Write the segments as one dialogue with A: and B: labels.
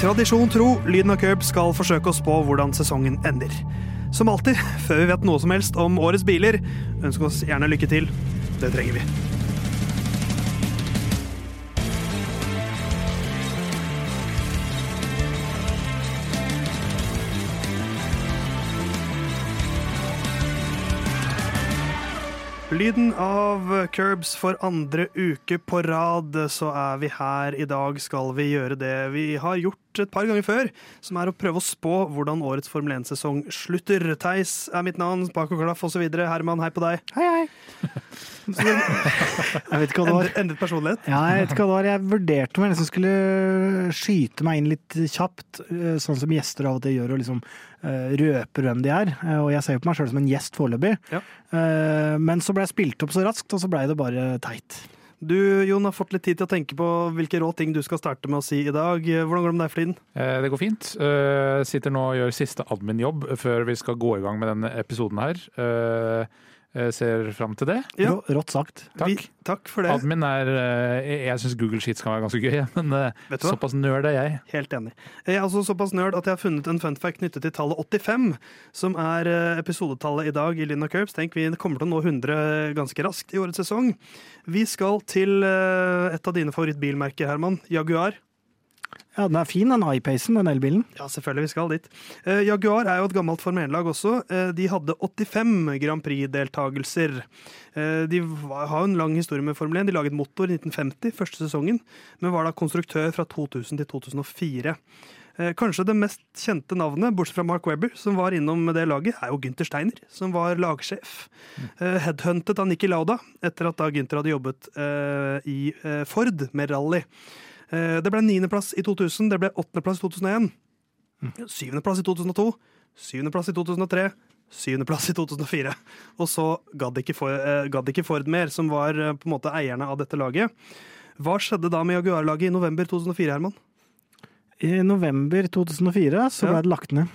A: Tradisjon tro, Lyden og Curb skal forsøke å spå hvordan sesongen ender. Som alltid, før vi vet noe som helst om årets biler, ønsk oss gjerne lykke til. Det trenger vi. Lyden av curbs for andre uke på rad, så er vi her. I dag skal vi gjøre det vi har gjort et par ganger før, som er å prøve å spå hvordan årets Formel 1-sesong slutter. Theis er mitt navn, Paco Klaff osv. Herman, hei på deg.
B: Hei, hei. Jeg vet ikke hva det var.
A: Endret, endret personlighet.
B: Ja, jeg vet ikke hva det var. Jeg vurderte om jeg liksom skulle skyte meg inn litt kjapt, eh, sånn som gjester av og til gjør, og liksom eh, røper hvem de er. Eh, Og jeg ser jo på meg sjøl som en gjest foreløpig.
A: Ja.
B: Eh, Men så ble jeg spilt opp så raskt, og så blei det bare teit.
A: Du, Jon, har fått litt tid til å tenke på hvilke rå ting du skal starte med å si i dag. Hvordan går det med deg for tiden?
C: Eh, Det går fint. Eh, Sitter nå og gjør siste admin-jobb før vi skal gå i gang med denne episoden her. Eh, eh, Ser fram til det.
A: Ja.
B: Rå- Rått sagt.
C: Takk.
A: Vi, takk for det.
C: Admin er eh, Jeg syns Google Sheets kan være ganske gøy, men eh,
A: Vet du hva?
C: såpass nerd er jeg.
A: Helt enig. Jeg er altså såpass nerd at jeg har funnet en fun fact knyttet til tallet 85, som er eh, episodetallet i dag i Lynn og Curbs. Tenk, vi kommer til å nå 100 ganske raskt i årets sesong. Vi skal til eh, et av dine favorittbilmerker, Herman. Jaguar.
B: Ja, den er fin, den iPacen, den elbilen.
A: Ja, selvfølgelig, vi skal dit. Eh, Jaguar er jo et gammelt Formel 1-lag også. Eh, De hadde 85 Grand Prix-deltagelser. Eh, De var- har jo en lang historie med Formel 1. De laget motor i 1950, første sesongen, men var da konstruktør fra 2000 til 2004. Eh, Kanskje det mest kjente navnet, bortsett fra Mark Webber, som var innom det laget, er jo Gunther Steiner, som var lagsjef. Eh, Headhuntet av Nikki Lauda etter at da Gunther hadde jobbet eh, i eh, Ford med rally. Eh, Det ble niendeplass i 2000, det ble åttendeplass i 2001. Syvendeplass i 2002, syvendeplass i 2003, syvendeplass i 2004. Og så gadd ikke, For, eh, gadd ikke Ford mer, som var eh, på en måte eierne av dette laget. Hva skjedde da med Jaguar-laget i november 2004, Herman?
B: I november 2004 så
A: Ja.
B: ble det lagt ned.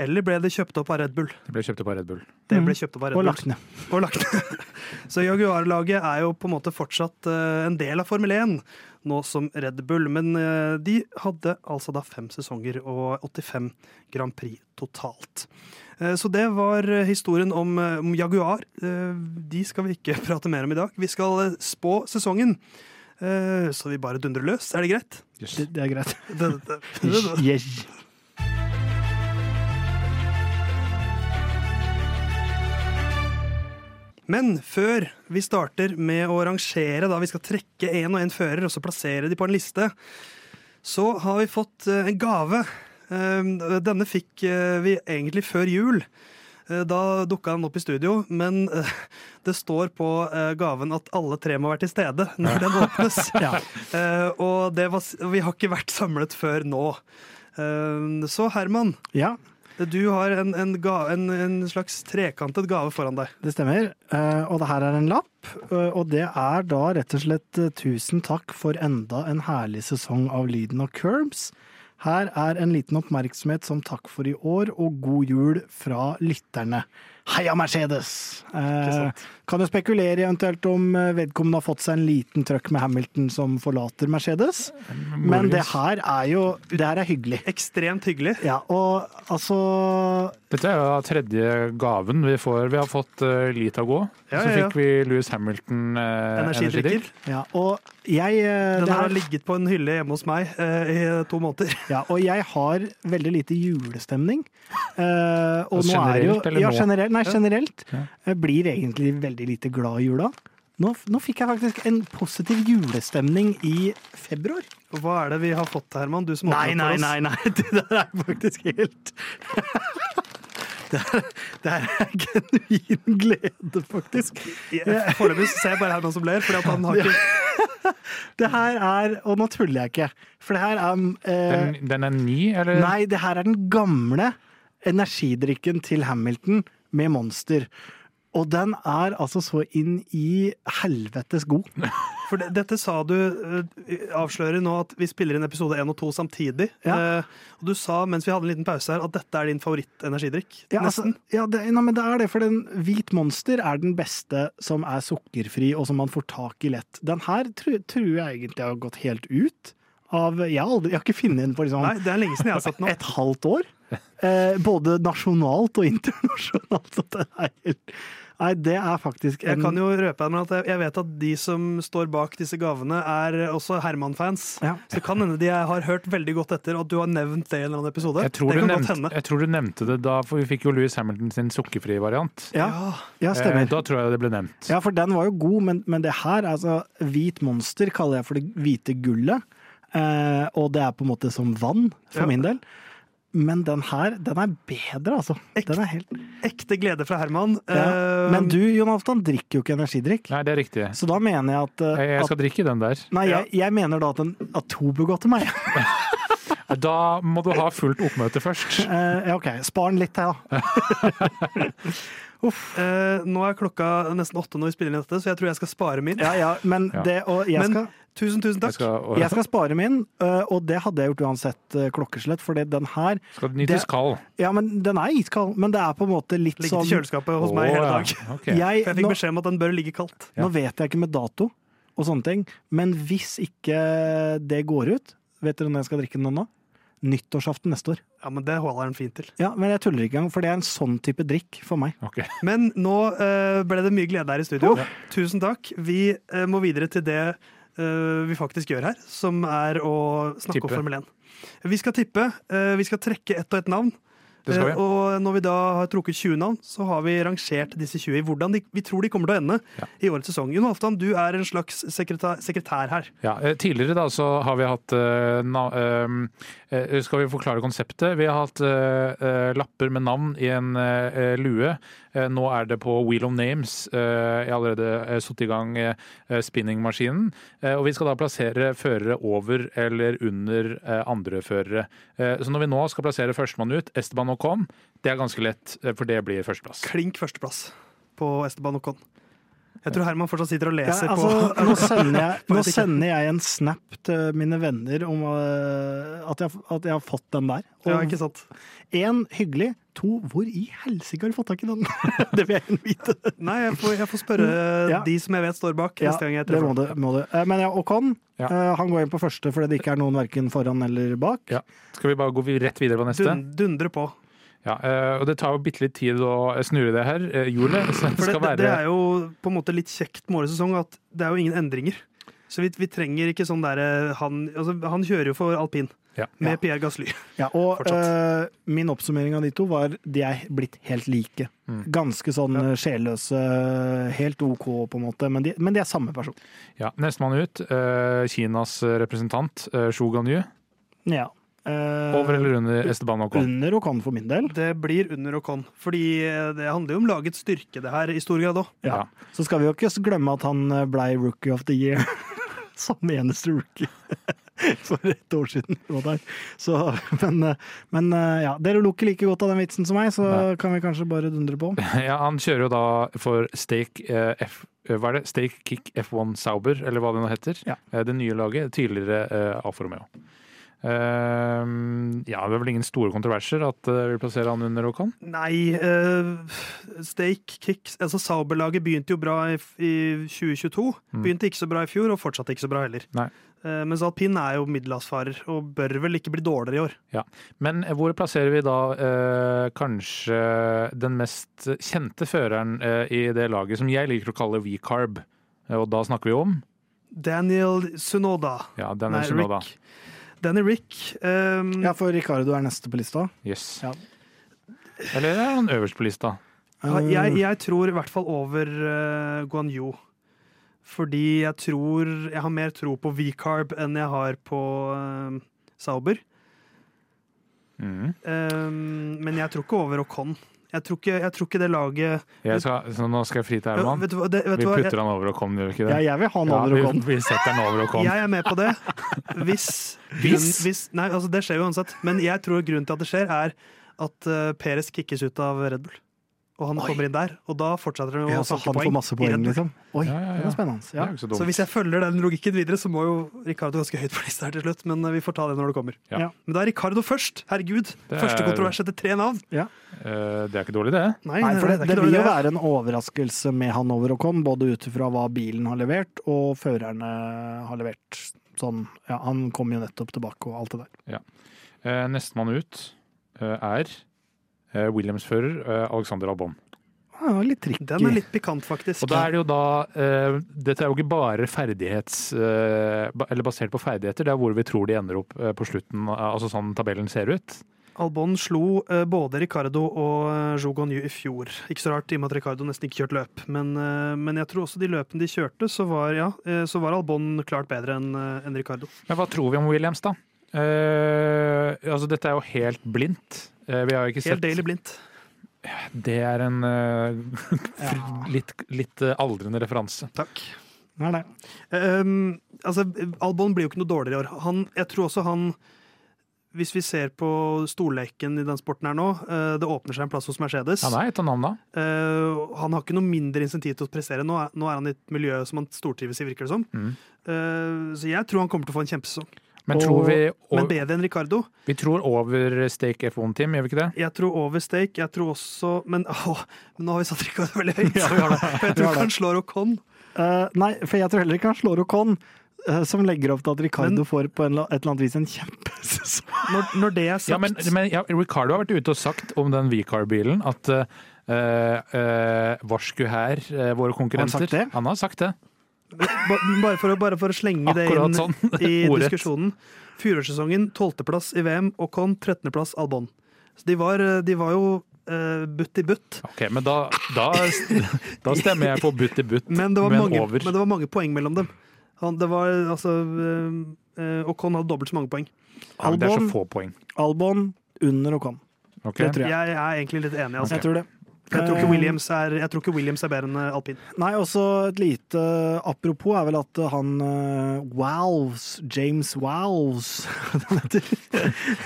A: Eller ble det kjøpt opp av Red Bull?
C: Det ble kjøpt opp av Red Bull.
A: Det
B: Mm.
A: ble kjøpt opp av Red
B: Og
A: Bull.
B: lagt ned.
A: og lagt Så Jaguar-laget er jo på en måte fortsatt eh, en del av Formel 1, nå som Red Bull. Men eh, de hadde altså da fem sesonger og 85 Grand Prix totalt. Eh, Så det var eh, historien om, eh, om Jaguar. Eh, De skal vi ikke prate mer om i dag. Vi skal eh, spå sesongen. Eh, Så vi bare dundrer løs. Er det greit?
C: Yes.
B: Det, det er greit.
A: Det, det, det, det.
B: Yeah.
A: Men før vi starter med å rangere, da vi skal trekke én og én fører og så plassere de på en liste, så har vi fått eh, en gave. Um, Denne fikk eh, vi egentlig før jul. Eh, Da dukka den opp i studio, men eh, det står på eh, gaven at alle tre må være til stede når den åpnes.
B: Ja.
A: Eh, Og det var, s- vi har ikke vært samlet før nå. Um, Så Herman,
B: ja.
A: du har en, en, ga, en, en slags trekantet gave foran deg.
B: Det stemmer. Eh, Og det her er en lapp. eh, Og det er da rett og slett eh, tusen takk for enda en herlig sesong av Lyden og Curbs. Her er en liten oppmerksomhet som takk for i år, og god jul fra lytterne. Heia Mercedes!
A: Ikke
B: Eh,
A: sant?
B: kan jo spekulere eventuelt om eh, vedkommende har fått seg en liten trøkk med Hamilton som forlater Mercedes,
A: Mm,
B: men det her er jo Det her er hyggelig.
A: Ekstremt hyggelig.
B: Ja, og altså
C: Dette er jo da tredje gaven vi får. Vi har fått uh, Litago.
A: Ja,
C: så
A: ja, ja.
C: fikk vi Louis Hamilton uh,
A: Energidrikker.
C: energidrikk.
B: Ja, og jeg eh,
A: Den
B: det
A: her har
B: her-
A: ligget på en hylle hjemme hos meg eh, i to måneder.
B: Ja, og jeg har veldig lite julestemning. Eh, og nå er jo,
C: Generelt, eller
B: ja,
C: nå?
B: generelt, nei, generelt.
C: Ja.
B: Jeg blir egentlig veldig lite glad i jula. Nå, nå fikk jeg faktisk en positiv julestemning i februar.
A: Hva er det vi har fått, Herman? Du som åpnet for oss.
B: nei. Det der er faktisk helt Det her er genuin glede, faktisk.
A: Ja, Foreløpig så ser jeg bare Herman som ler, fordi at han har ikke
B: Det her er Og nå tuller jeg ikke, for det her er eh,
C: Den, den er ny,
A: Eh.
C: eller?
B: Nei, det her er den gamle energidrikken til Hamilton med Monster. Og den er altså så inn i helvetes god.
A: For det, dette sa du eh, avslører nå at vi spiller inn episode 1 og 2 samtidig.
B: Ja.
A: Eh, og du sa mens vi hadde en liten pause her, at dette er din favorittenergidrikk.
B: Ja, altså,
A: Nesten.
B: ja det, nei, men det er det, for den Hvit Monster er den beste som er sukkerfri, og som man får tak i lett. Den her tru- tror jeg egentlig har gått helt ut Av, jeg, har aldri, jeg har ikke funnet den på liksom,
A: Nei, det er lenge siden jeg har sett den.
B: et halvt år. Eh, både nasjonalt og internasjonalt. Så det er, helt- nei, det er faktisk en
A: Jeg kan jo røpe her, men at jeg- jeg vet at de som står bak disse gavene, er også Herman-fans.
B: ja.
A: Så det kan hende de har hørt veldig godt etter, og at du har nevnt det i en eller annen episode.
C: Jeg tror,
A: det
C: du
A: kan
C: nevnte, jeg tror du nevnte det da, for vi fikk jo Louis Hamilton sin sukkerfrie variant.
B: Ja,
A: Ja.
B: ja,
C: Eh,
B: stemmer.
C: Da tror jeg det ble nevnt.
B: Ja, for den var jo god, men, men det her, altså Hvit monster kaller jeg for det hvite gullet. Eh, og det er på en måte som vann, for
A: Ja.
B: min del. Men den her, den er bedre, altså. Den er helt
A: Ekte glede fra Herman.
B: ja.
A: Eh,
B: Men du, Jon Aftan, drikker jo ikke energidrikk.
C: Nei, det er riktig.
B: Så da mener jeg at, eh,
C: Jeg, jeg
B: at
C: skal drikke den der.
B: Nei, jeg, jeg mener da at, en, at Tobu går til meg.
C: Da må du ha fullt oppmøte først.
B: Eh, ja, OK. Spar den litt, jeg, da.
A: eh, nå er klokka nesten åtte når vi spiller inn dette, så jeg tror jeg skal spare min.
B: Ja, ja, men
C: Ja.
B: det Og jeg
A: Men-
B: skal
A: Tusen, tusen
C: Jeg
A: takk.
C: skal, og,
B: jeg skal spare min, eh, og det hadde jeg gjort uansett eh, klokkeslett, for den her
C: skal nytes
B: det-
C: kald.
B: Ja, men den er iskald, men det er på en måte litt
A: Ligget i
B: sånn
A: kjøleskapet hos meg i hele dag.
C: Å, ja. Ok.
B: jeg,
A: For jeg
B: nå,
A: fikk beskjed om at den bør ligge kaldt.
C: Ja.
B: nå vet jeg ikke med dato og sånne ting, men hvis ikke det går ut Vet dere når jeg skal drikke den nå? Nyttårsaften neste år.
A: Ja, men det holder den fint til.
B: Ja, Men jeg tuller ikke engang, for det er en sånn type drikk for meg.
C: Ok.
A: Men nå eh, ble det mye glede her i studio. Tusen takk. Vi eh, må videre til det eh, vi faktisk gjør her, som er å snakke
C: Tippe.
A: om Formel 1. Vi skal tippe. eh, vi skal trekke ett og ett navn.
C: Det skal vi.
A: Eh, og når vi da har trukket 20 navn, så har vi rangert disse 20 i hvordan de, vi tror de kommer til å ende
C: Ja.
A: i årets sesong. Jon Halvdan, du er en slags sekretær, sekretær her.
C: Ja, eh, tidligere da så har vi hatt eh, na, eh, eh, Skal vi forklare konseptet? Vi har hatt eh, eh, lapper med navn i en eh, eh, lue. Eh, nå er det på Wheel of Names. Eh, jeg har allerede eh, satt i gang eh, eh, spinningmaskinen. Eh, og vi skal da plassere førere over eller under eh, andre førere. Eh, så når vi nå skal plassere førstemann ut, Esteban Ocon, det er ganske lett, eh, for det blir førsteplass.
A: Klink førsteplass på Esteban Ocon. Jeg tror Herman fortsatt sitter og
B: Ja,
A: leser på
B: altså, nå, sender jeg, nå
A: etikken.
B: sender jeg en snap til mine venner om eh, at jeg, at jeg har fått den der.
A: Ja,
B: Og
A: ikke sant?
B: én hyggelig, to hvor i helsike har du fått tak i den? det vil jeg gjerne vite.
A: Nei, jeg får, jeg får spørre
B: Ja.
A: de som jeg vet står bak,
B: Ja,
A: neste gang jeg
B: det
A: treffer
B: må
A: dem.
B: det, må det. Eh, Men ja, Ocon
C: Ja.
B: eh, han går inn på første fordi det ikke er noen verken foran eller bak.
C: Ja. Skal vi bare gå rett videre på neste?
A: Dun, dundre på.
C: Ja, eh, og Det tar jo bitte litt tid å snurre det her eh, hjulet. Så det
A: For det,
C: skal
A: det,
C: være
A: det er jo på en måte litt kjekt med årets sesong at det er jo ingen endringer. Så vi, vi trenger ikke sånn derre han, altså, han kjører jo for alpin
C: Ja.
A: med
B: Ja.
A: Pierre Gasly.
B: Ja, og
A: Fortsatt.
B: eh, min oppsummering av de to var de er blitt helt like.
C: Mm.
B: Ganske sånn eh, sjelløse, helt OK på en måte, men de, men de er samme person.
C: Ja, Nestemann ut, eh, Kinas representant eh, Zhou Ganyu.
B: Ja. Eh,
C: Over eller under Esteban Ocon?
B: Under Ocon for min del.
A: Det blir under Ocon. Fordi eh, det handler jo om lagets styrke, det her, i stor grad òg.
B: Ja.
C: Ja.
B: Så skal vi jo ikke glemme at han blei rookie of the year. Som eneste rookie for et år siden. det var der. Så, men, eh, men eh, ja, dere lo ikke like godt av den vitsen som meg, så
C: Nei.
B: kan vi kanskje bare dundre på.
C: Ja, han kjører jo da for Stake eh, F... eh, Hva er det? Stake Kick F1 Sauber, eller hva det nå heter.
B: Ja.
C: Eh, Det nye laget. Tidligere eh, Alfa Romeo. Eh, ja, det er vel ingen store kontroverser at eh, vi plasserer han under Ocon?
A: Nei, eh, Stake Kicks Altså Sauber-laget begynte jo bra i, i 2022.
C: Mm.
A: Begynte ikke så bra i fjor, og fortsatte ikke så bra heller.
C: Nei.
A: Eh, mens alpin er jo middelhavsfarer, og bør vel ikke bli dårligere i år.
C: Men hvor plasserer vi da eh, kanskje den mest kjente føreren eh, i det laget, som jeg liker å kalle V-carb? Eh, Og da snakker vi om
A: Daniel Sunoda.
C: Ja, Daniel Shinoda.
A: Rick. Danny Rick. ehm,
B: Ja, for Ricardo er neste på lista.
C: Yes.
B: Ja.
C: Eller er han øverst på lista?
A: Ja, jeg, jeg tror i hvert fall over eh, Guan Yu. Fordi jeg tror Jeg har mer tro på V-carb enn jeg har på eh, Sauber.
C: Mhm.
A: Ehm, men jeg tror ikke over Ocon. Jeg tror ikke, jeg tror ikke det laget
C: Jeg skal, så nå skal jeg fri til
A: Ja,
C: Herman.
A: Vet du hva? Det, vet
C: Vi
A: du hva?
C: putter han over og kom, gjør vi ikke
B: ja,
C: det?
B: jeg vil ha han over
C: vi,
B: Ocon.
C: vi setter han over og
A: Jeg,
C: kom.
A: jeg er med på det. Hvis,
C: Hvis?
A: hvis Nei, altså det skjer jo uansett. Men jeg tror grunnen til at det skjer, er at eh, Perez kickes ut av Red Bull. Og han
B: Oi.
A: kommer inn der, og da fortsetter han jo
B: Ja,
A: å
B: så
A: sanke
B: han får
A: i
B: masse
A: Red
B: poeng,
A: Bull.
B: liksom. Oi,
C: Ja, ja, ja.
B: det var spennende.
C: Det
B: Ja.
C: er jo ikke så
A: Så
C: dumt.
A: hvis jeg følger den logikken videre, så må jo Ricardo ganske høyt på lista her til slutt. Men eh, vi får ta det når det kommer.
C: Ja.
B: Ja.
A: Men da er Ricardo først! Herregud!
C: Det er-
A: Første kontrovers etter tre navn!
C: Eh, det er ikke dårlig, det.
A: Nei,
B: Nei,
A: nei,
B: for
A: nei, er
B: det,
A: ikke
B: det vil
A: dårlig, det.
B: jo være en overraskelse med han over og kom, både ut ifra hva bilen har levert og førerne har levert. sånn Ja, han kom jo nettopp tilbake og alt det der.
C: Eh, Nestemann ut eh, er eh, Williams-fører eh, Alexander Albon.
B: Han var litt tricky.
A: Den er litt pikant, faktisk.
C: Og da er det jo da eh, Dette er jo ikke bare ferdighets... eh, ba- eller basert på ferdigheter, det er hvor vi tror de ender opp eh, på slutten, eh, altså sånn tabellen ser ut.
A: Albon slo eh, både Ricardo og eh, Zhou Guanyu i fjor. Ikke så rart, i og med at Ricardo nesten ikke kjørte løp. Men, eh, men jeg tror også de løpene de kjørte, så var, ja, eh, så var Albon klart bedre enn eh, enn Ricardo.
C: Men hva tror vi om Williams, da? Eh, altså, dette er jo helt blindt. Eh, vi har jo ikke
A: Helt
C: sett
A: Daily blindt.
C: Det er en eh,
B: Ja.
C: litt, litt eh, aldrende referanse.
A: Takk.
B: Nei, nei.
A: Um, altså, Albon blir jo ikke noe dårligere i år. Han, jeg tror også han Hvis vi ser på storleken i den sporten her nå, eh, det åpner seg en plass hos Mercedes.
C: Han er et av navnene.
A: Eh, han har ikke noe mindre insentiv til å prestere. Nå er, nå er han i et miljø som han stortrives i, virker det som.
C: Mm.
A: Eh, så jeg tror han kommer til å få en kjempesesong.
C: Men
B: Og-
C: tror vi,
A: Men
C: og,
A: bedre enn Ricardo.
C: vi tror over Stake F1-team, gjør vi ikke det?
A: Jeg tror over stake. Jeg tror også Men åh, men nå har vi satt Ricardo veldig høyt. For jeg
B: Vi
A: tror ikke
B: har det.
A: han slår Ocon.
B: Eh, nei, for jeg tror heller ikke han slår Ocon, eh, som legger opp til at Ricardo
A: Men-
B: får på en, la- et eller annet vis en kjempesesong.
A: Når, når det er sagt
C: Ja, men, men ja, Ricardo har vært ute og sagt om den Vicar-bilen at uh, varsku her, eh, våre konkurrenter.
B: Har han sagt det?
C: Han har sagt det.
A: Ba- Bare for å, bare for å slenge
C: Akkurat
A: det
C: sånn.
A: inn i
C: Ordrett.
A: diskusjonen. Fjorårssesongen, tolvteplass i VM, Ocon, trettendeplass Albon. Så de var, de var jo eh, butt i butt.
C: Ok, men da, da, da stemmer jeg på butt i butt,
A: Men det var, mange,
C: over.
A: men det var mange poeng mellom dem. Han, det var altså eh, eh, Ocon hadde dobbelt så mange poeng.
C: Ja, men det er
B: Albon-
C: så få poeng.
B: Albon under Ocon.
C: Ok?
B: Det tror jeg.
A: Jeg er egentlig litt enig. Altså.
B: Jeg tror det.
A: Jeg, tror
B: Eh,
A: ikke Williams er, jeg tror ikke Williams er bedre enn alpin.
B: Nei, også et lite apropos er vel at han eh, Wows, James Wows han heter.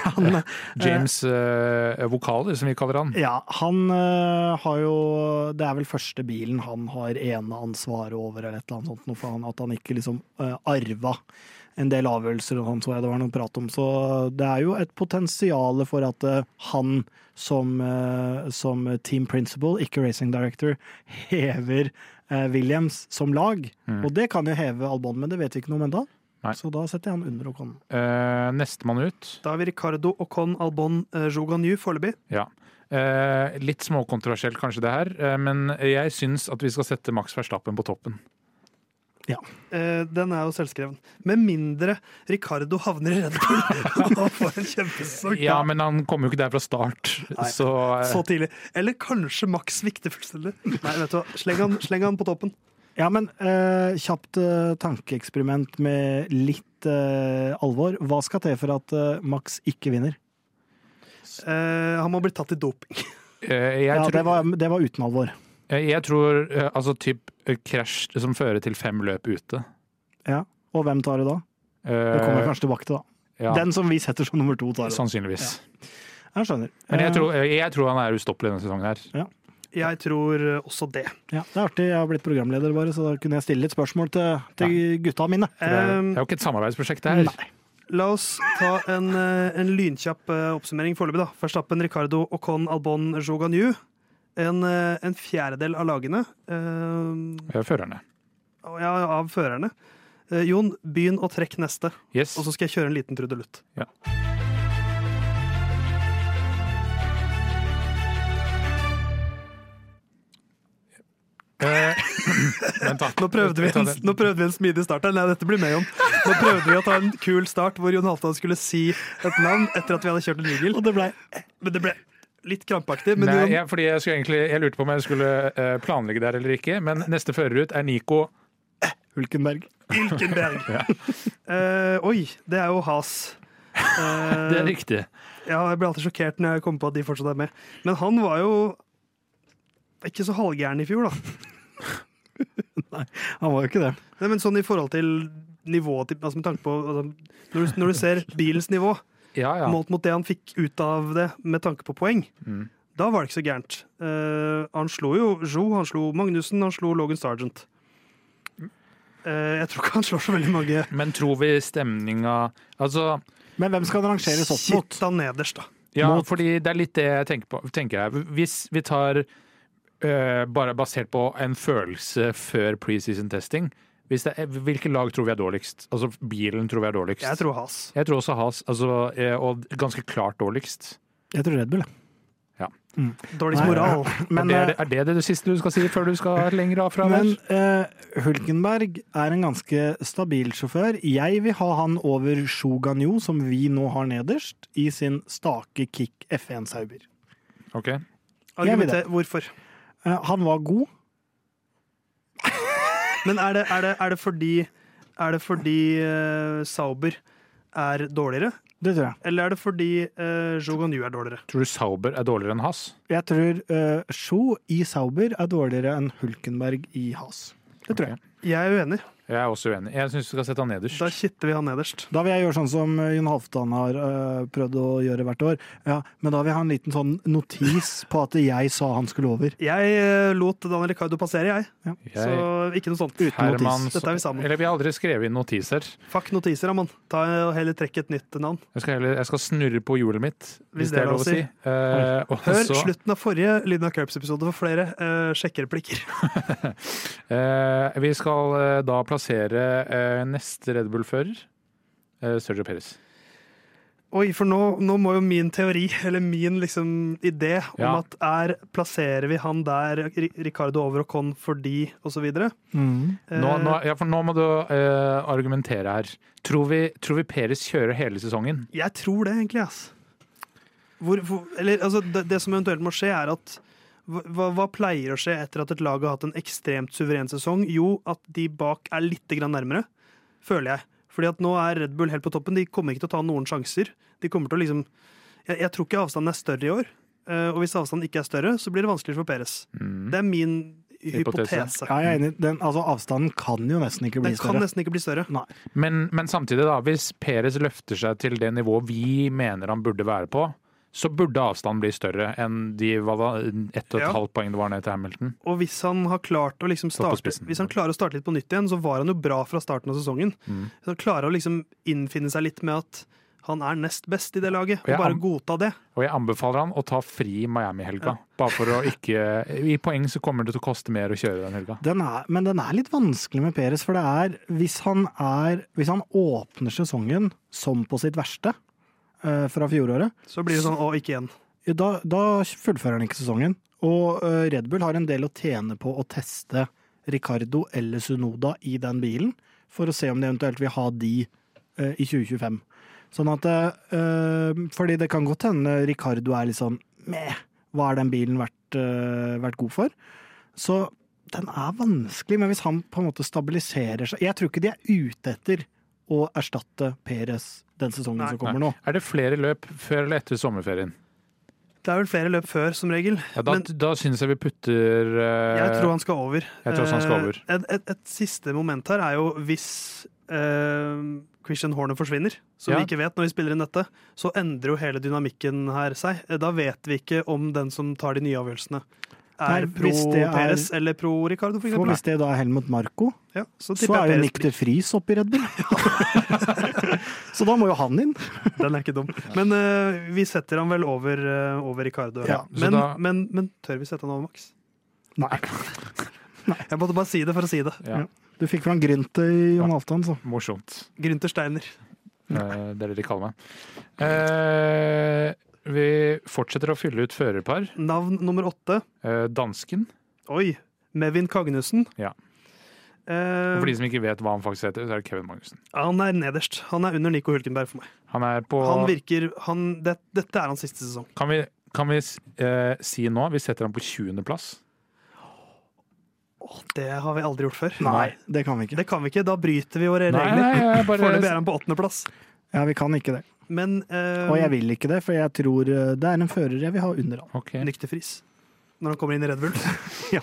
B: han,
C: James eh, Vokaler, som vi kaller han.
B: ja, han eh, har jo Det er vel første bilen han har eneansvaret over, eller et eller annet sånt, noe for han, at han ikke liksom eh, arva en del avgjørelser og sånn, så jeg det var noe prat om. Så det er jo et potensial for at eh, han som, eh, som team principal, ikke racing director, hever eh, Williams som lag.
C: Mm.
B: Og det kan jo heve Albon, men det vet vi ikke noe om ennå.
C: Nei.
B: Så da setter jeg han under Ocon.
C: Eh, Nestemann ut.
A: Da har vi Ricardo, Ocon, Albon, eh, Joganyu foreløpig.
C: Ja. Eh, litt småkontroversielt kanskje det her, eh, men jeg syns at vi skal sette Max Verstappen på toppen.
A: Eh, den er jo selvskreven. Med mindre Ricardo havner i Red Bull og får en kjempesesong.
C: Ja, men han kommer jo ikke der fra start, så eh,
A: Så tidlig. Eller kanskje Max svikter fullstendig. Nei, vet du hva. Sleng han, sleng han på toppen.
B: Ja, men eh, kjapt eh, tankeeksperiment med litt eh, alvor. Hva skal til for at eh, Max ikke vinner?
A: Eh, han må bli tatt i doping.
C: eh, jeg,
B: Ja,
C: tror,
B: det var, det var uten alvor.
C: eh, jeg tror eh, altså typ eh, krasj som fører til fem løp ute.
B: Ja. Og hvem tar det da? Det kommer vi
C: Eh,
B: kanskje tilbake til, da.
C: ja,
B: Den som vi setter som nummer to, tar det.
C: sannsynligvis.
B: Jeg skjønner.
C: Men jeg
B: Eh,
C: tror, eh, jeg tror han er ustoppelig denne sesongen her.
A: Jeg tror eh, også det.
B: ja, Det er artig, jeg har blitt programleder, bare, så da kunne jeg stille litt spørsmål til, til gutta mine.
C: For det, er,
A: Eh,
C: det er jo ikke et samarbeidsprosjekt det her.
B: Nei.
A: la oss ta en, eh, en lynkjapp eh, oppsummering foreløpig, da. Verstappen, Ricardo, Ocon, Albon, Joganyu. En, eh, en fjerdedel av lagene. eh,
C: Eh, Førerne.
A: og ja, av førerne. Eh, Jon, begynn å trekke neste,
C: Yes.
A: og så skal jeg kjøre en liten trudelutt.
C: Eh, Vent, da.
A: Nå prøvde, vi
C: Ta
A: en,
C: det.
A: nå prøvde vi en smidig start her. Nei, dette blir med, Jon. Nå prøvde vi å ta en kul start hvor Jon Halvdan skulle si et navn etter at vi hadde kjørt en jingle.
B: Og det blei
A: Men det ble litt krampaktig. Men
C: Nei,
A: Jon,
C: jeg, fordi jeg, skulle egentlig, jeg lurte på om jeg skulle eh, planlegge der eller ikke, men neste fører ut er Nico.
B: Hulkenberg.
A: Ilkenberg! Eh, oi, det er jo has. Eh,
C: Det er riktig.
A: ja, jeg blir alltid sjokkert når jeg kommer på at de fortsatt er med. Men han var jo ikke så halvgæren i fjor, da.
B: Han var jo ikke det.
A: Nei, men sånn i forhold til nivået til- altså med tanke på altså, når, du, når du ser bilens nivå
C: Ja, ja.
A: målt mot det han fikk ut av det med tanke på poeng,
C: Mm.
A: da var det ikke så gærent. Eh, han slo jo Jo, han slo Magnussen, han slo Logan Sargent. Eh, jeg tror ikke han slår så veldig mange
C: Men tror vi stemninga Altså,
B: Men hvem skal han rangeres opp mot?
A: Sitta nederst, da.
C: ja,
B: Mot-
C: fordi det er litt det jeg tenker på. Tenker jeg. Hvis vi tar eh, bare basert på en følelse før preseason testing, Hvis det er, hvilke lag tror vi er dårligst? Altså bilen tror vi er dårligst.
A: Jeg tror Has.
C: Jeg tror også Has, altså, eh, og ganske klart dårligst.
B: Jeg tror Red Bull, jeg.
A: Dårligst
B: Nei,
A: moral.
B: Men, eh,
C: er, det, er det det siste du skal si før du skal lenger av fra?
B: men
C: vel?
B: eh, Hulkenberg er en ganske stabil sjåfør. Jeg vil ha han over Shoganyo, som vi nå har nederst, i sin stake kick F1 Sauber.
C: Ok.
A: Argumenter hvorfor.
B: Eh, han var god.
A: Men er det, er det, er det fordi, er det fordi eh, Sauber er dårligere?
B: Det tror jeg.
A: Eller er det fordi uh, Joganyu er dårligere?
C: Tror du Sauber er dårligere enn Has?
B: Jeg tror uh, Sjo i Sauber er dårligere enn Hulkenberg i Has. Det tror jeg.
A: Jeg er uenig.
C: Jeg er også uenig. Jeg syns du skal sette han nederst.
A: Da kitter vi han nederst.
B: Da vil jeg gjøre sånn som Jon Halvdan har eh, prøvd å gjøre hvert år. Ja, men da vil jeg ha en liten sånn notis på at jeg sa han skulle over.
A: Jeg eh, lot Daniel Ricardo passere, jeg. Så
C: Jeg,
A: ikke noe sånt.
C: Herman,
A: Dette er vi sammen.
C: Eller vi har aldri skrevet inn notiser.
A: Fuck notiser, Amon. Ta og heller trekk et nytt navn.
C: Jeg skal, heller, jeg skal snurre på hjulet mitt, hvis, det er lov å si. Eh, og
A: Hør
C: så-
A: slutten av forrige Lyden av Curbs-episode for flere uh, sjekkereplikker.
C: Eh, vi skal eh, da plassere eh, neste Red Bull-fører, eh, Sergio Perez.
A: Oi, for nå, nå må jo min teori, eller min liksom idé, om
C: Ja.
A: at er plasserer vi han der, Ri- Ricardo over og Con fordi, og så videre Eh,
C: Nå, nå, ja, for nå må du eh, argumentere her. Tror vi, tror vi Perez kjører hele sesongen?
A: Jeg tror det, egentlig, ass. Hvor, hvor, eller, altså, det, det som eventuelt må skje, er at hva, hva- hva pleier å skje etter at et lag har hatt en ekstremt suveren sesong? Jo, at de bak er litt grann nærmere, føler jeg. Fordi at nå er Red Bull helt på toppen. De kommer ikke til å ta noen sjanser. De kommer til å liksom Jeg, jeg tror ikke avstanden er større i år. Eh, Og hvis avstanden ikke er større, så blir det vanskeligere for Perez. Det er min
C: Hypotese.
A: hypotese.
B: Ja, jeg er enig. Den, altså, avstanden kan jo nesten ikke bli
A: Den kan
B: større.
A: nesten ikke bli større.
B: Nei.
C: Men, men samtidig, da, hvis Perez løfter seg til det nivået vi mener han burde være på, så burde avstanden bli større enn de hva da, ett og et
A: Ja.
C: halvt poeng det var ned til Hamilton.
A: Og hvis han har klart å liksom
C: Stå på
A: starte
C: spissen.
A: Hvis han klarer å starte litt på nytt igjen, så var han jo bra fra starten av sesongen.
C: Mm.
A: Så han klarer å liksom innfinne seg litt med at han er nest best i det laget, og
C: Ja,
A: bare
C: han-
A: godta det.
C: Og jeg anbefaler han å ta fri Miami-helga. Bare for å ikke I poeng så kommer det til å koste mer å kjøre den helga.
B: Den er, men den er litt vanskelig med Peres, for det er hvis han, er, hvis han åpner sesongen som på sitt verste eh, fra fjoråret,
A: Så blir det sånn å, ikke igjen.
B: ja, da, da fullfører han ikke sesongen. Og eh, Red Bull har en del å tjene på å teste Ricardo eller Sunoda i den bilen, for å se om de eventuelt vil ha de eh, i 2025. Sånn at eh, Fordi det kan godt hende Ricardo er litt sånn meh, hva er den bilen vært, eh, vært god for? Så den er vanskelig, men hvis han på en måte stabiliserer seg Jeg tror ikke de er ute etter å erstatte Perez den sesongen
A: Nei,
B: som kommer nå.
C: Er det flere løp før eller etter sommerferien?
A: Det er vel flere løp før, som regel.
C: Ja, da
A: Men-
C: da syns jeg vi putter eh,
A: Jeg tror han skal over.
C: jeg tror også han skal over.
A: Eh, Et, et, et siste moment her er jo hvis eh, Christian Horner forsvinner, som
C: Ja.
A: vi ikke vet når vi spiller inn dette, så endrer jo hele dynamikken her seg. Eh, Da vet vi ikke om den som tar de nye avgjørelsene, er
B: Nei,
A: pro
B: hvis det er-
A: Perez eller pro Ricardo, for
B: For
A: eksempel.
B: hvis det da er Helmut Marco,
A: Ja, så
B: så
A: tipper
B: er jo
A: jeg
B: Nick
A: Perez
B: de Vries oppe i Red Bull. så da må jo han inn.
A: blir. Den er ikke dum. Men eh, vi setter han vel over, eh, over Ricardo.
B: Ja,
C: så
A: men,
C: da-
A: men, men tør vi sette han over Max?
B: Nei,
A: Jeg måtte bare si det for å si det.
C: ja,
B: du fikk fram gryntet i Jon Halvdan, så.
C: Morsomt.
A: Grynter Steiner.
C: Eh, det er det de kaller meg. Eh, vi fortsetter å fylle ut førerpar.
A: Navn nummer åtte.
C: Eh, dansken.
A: Oi! Mevin Kagnussen.
C: Ja.
A: Eh,
C: Og for de som ikke vet hva han faktisk heter, så er det Kevin Magnussen.
A: han er nederst. Han er under Nico Hulkenberg for meg.
C: Han er på
A: Han virker, han, det, dette er hans siste sesong.
C: Kan vi, kan vi eh, si nå Vi setter han på 20.-plass.
A: Åh, det har vi aldri gjort før.
B: Nei, det kan vi ikke.
A: Det kan vi ikke. Da bryter vi våre
C: Nei,
A: regler.
C: nei, jeg
A: Foreløpig
C: bare
A: er han på åttendeplass.
B: Ja, vi kan ikke det.
A: Men eh,
B: Og jeg vil ikke det, for jeg tror eh, det er en fører jeg vil ha under han.
C: Ok.
A: Nyktefris. Når han kommer inn i Red Bull.
B: Ja.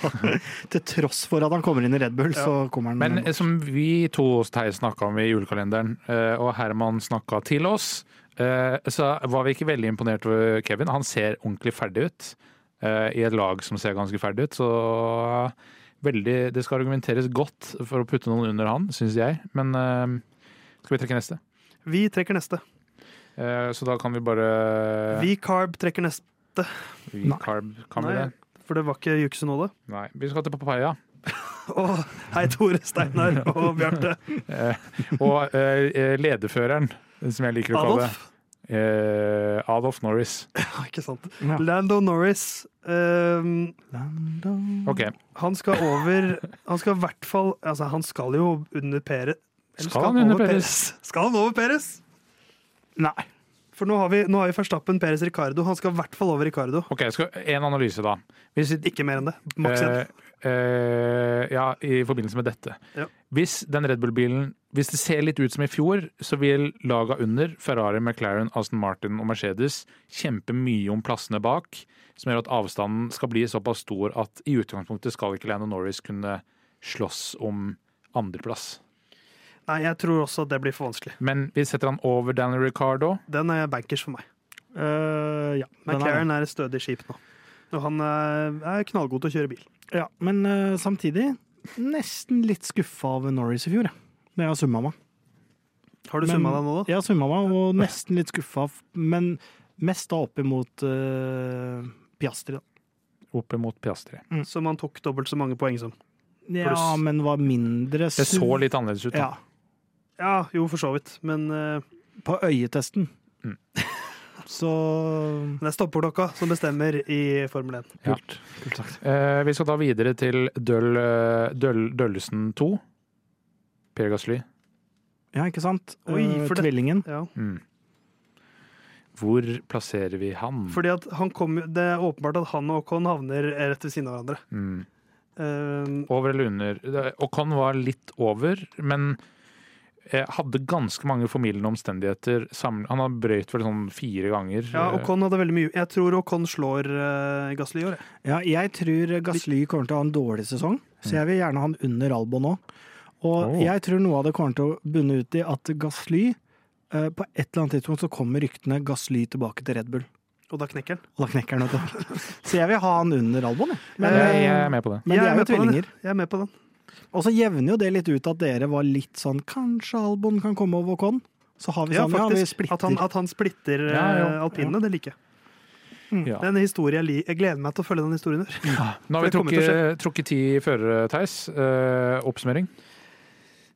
B: Til tross for at han kommer inn i Red Bull, så kommer han
C: Men eh, som vi to Theis, snakka om i julekalenderen, eh, og Herman snakka til oss, eh, så var vi ikke veldig imponert over Kevin. Han ser ordentlig ferdig ut eh, i et lag som ser ganske ferdig ut. Så eh, veldig, det skal argumenteres godt for å putte noen under han, syns jeg. Men eh, skal vi trekke neste?
A: Vi trekker neste.
C: Eh, Så da kan vi bare
A: Vi Carb trekker neste.
C: Vi carb, kan vi
A: Nei.
C: det?
A: For det var ikke Yuki Sunode.
C: Nei. Vi skal til papaya.
A: Og hei, Tore, Steinar og Bjarte.
C: Eh, og eh, lederføreren, som jeg liker å kalle det.
A: Adolf.
C: Eh, Adolf Norris.
A: Ja, ikke sant.
B: Ja.
A: Lando Norris. ehm,
B: Lando.
C: OK.
A: han skal over Han skal i hvert fall Altså, han skal jo under Pere. eller
C: Skal han under
A: over
C: Perez?
A: Skal han over Peres?
B: Nei.
A: For nå har vi, nå har vi Verstappen, Peres, Ricardo. Han skal i hvert fall over Ricardo.
C: Ok, jeg skal, en analyse, da. Hvis,
A: Ikke mer enn det. Maks en.
C: Eh, eh, ja, i forbindelse med dette.
A: Ja.
C: Hvis den Red Bull-bilen Hvis det ser litt ut som i fjor, så vil laga under, Ferrari, McLaren, Aston Martin og Mercedes, kjempe mye om plassene bak, som gjør at avstanden skal bli såpass stor at i utgangspunktet skal ikke Lando Norris kunne slåss om andreplass.
A: Nei, jeg tror også at det blir for vanskelig.
C: Men vi setter han over Daniel Ricardo.
A: Den er bankers for meg.
B: Eh, ja. den er-
A: McLaren er et stødig skip nå. Og han er, er knallgod til å kjøre bil.
B: Ja, men eh, samtidig nesten litt skuffa av Norris i fjor, jeg. Når jeg har summa meg.
A: Har du
B: Men-
A: summa deg nå, da?
B: Jeg har summa meg, og nesten litt skuffa, f- men mest da opp imot eh, Piastri, da.
C: Opp imot Piastri.
A: Som han tok dobbelt så mange poeng som.
B: Ja,
A: Pluss.
B: men var mindre
C: Det
B: sur-
C: så litt annerledes ut.
B: Ja,
C: Da.
A: Ja, jo, for så vidt. Men eh,
B: på øyetesten.
C: Mm.
B: Så
A: det er stoppeklokka som bestemmer i Formel 1.
C: Ja.
B: Kult. Kult sagt.
C: Eh, vi skal da videre til Døll, Døll, Døllesen 2. Per Gasly.
B: Ja, ikke sant?
A: Oi,
B: Eh,
A: for det-
B: Tvillingen.
A: Ja.
C: Mm. Hvor plasserer vi han?
A: Fordi at han kom, Det er åpenbart at han og Con havner rett ved siden av hverandre.
C: Mm.
A: Eh,
C: Over eller under? Det- Ocon var litt over, men eh, hadde ganske mange formildende omstendigheter. Saml han har brøyt vel sånn fire ganger.
A: ja, og Con hadde veldig mye Jeg tror Con slår eh, Gasly i år. jeg.
B: Ja, jeg tror Gasly kommer til å ha en dårlig sesong, så jeg vil gjerne ha han under Albon nå. Og
C: Oh.
B: jeg tror noe av det kommer til å bunne ut i at Gasly eh, På et eller annet tidspunkt så kommer ryktene Gasly tilbake til Red Bull.
A: Og da knekker han.
B: Og da knekker han ut. Så jeg vil ha han under Albon, jeg. Men,
C: jeg,
B: eh,
C: jeg er med på det.
B: men
A: Jeg
B: de
A: er
B: er jo
A: med på den.
B: tvillinger.
A: Jeg er med på den.
B: Og så jevner jo det litt ut at dere var litt sånn Kanskje Albon kan komme over Con? Så har vi
A: Ja,
B: sånn, ja, vi
A: faktisk.
B: splitter.
A: At han, at han splitter eh,
C: Ja, ja.
A: alpinene, det liker jeg.
C: Ja.
A: Mm. Det er en historie jeg, li- jeg gleder meg til å følge den historien. der.
C: Nå har vi
A: det kommer til å
C: trukket, trukket ti førere, Theis. Eh, oppsummering.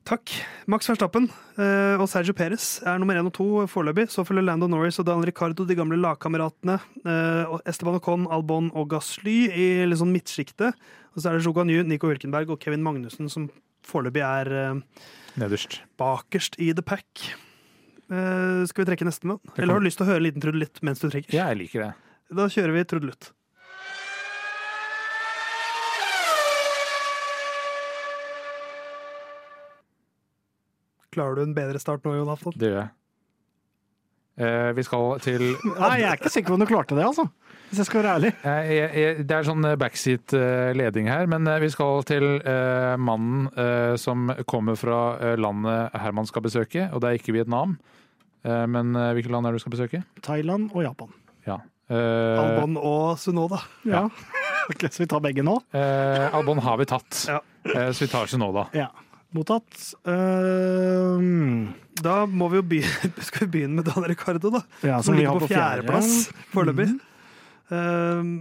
A: Takk. Max Verstappen eh, og Sergio Perez er nummer én og to foreløpig. Så følger Lando Norris og Daniel Ricardo, de gamle lagkameratene. eh, og Esteban Ocon, Albon og Gasly i litt sånn midtsjiktet. Og så er det Joganyu, Nico Hülkenberg og Kevin Magnussen som foreløpig er eh,
C: Nederst.
A: bakerst i the pack. Eh, skal vi trekke nestemann?
C: Det
A: Eller har
C: kommer.
A: du lyst til å høre en liten trudelutt mens du trekker?
C: Ja, jeg liker det.
A: Da kjører vi trudelutt. Klarer du en bedre start nå, Jon Afton?
C: Det gjør jeg. Eh, vi skal til
B: Nei, jeg er ikke sikker på om du klarte det, altså. Hvis jeg skal være ærlig.
C: Eh, Jeg, jeg, det er sånn backseat-leding her, men eh, vi skal til eh, mannen eh, som kommer fra eh, landet Herman skal besøke, og det er ikke Vietnam. Eh, men eh, hvilket land er det du skal besøke?
B: Thailand og Japan.
C: Ja. Eh,
A: Albon og Sunoda.
B: Ja. Ok, så vi tar begge nå?
C: eh, Albon har vi tatt,
A: Ja.
C: eh, så vi tar ikke nå, da.
B: Ja. Mottatt. Ehm,
A: Da må vi jo begynne, skal vi begynne med Dan Ricardo, da.
B: ja,
A: Som
B: vi
A: ligger
B: har
A: på
B: fjerde.
A: fjerdeplass foreløpig. Um,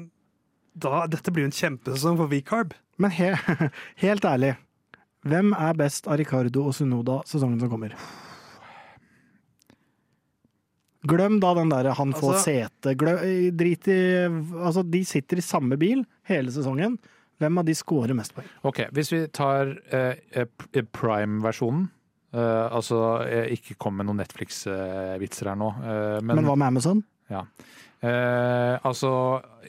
A: da- Dette blir jo en kjempesesong for V-Carb.
B: Men he helt ærlig, hvem er best av Ricardo og Sunoda sesongen som kommer? Glem da den derre han får
A: Altså-
B: sete glø- Drit i Altså, de sitter i samme bil hele sesongen. Hvem av de scorer mest poeng?
C: Ok, Hvis vi tar eh, eh, p- eh, prime-versjonen eh, Altså, eh, ikke kom med noen Netflix-vitser her nå, eh,
B: Men, hva med Amazon?
C: Eh, altså,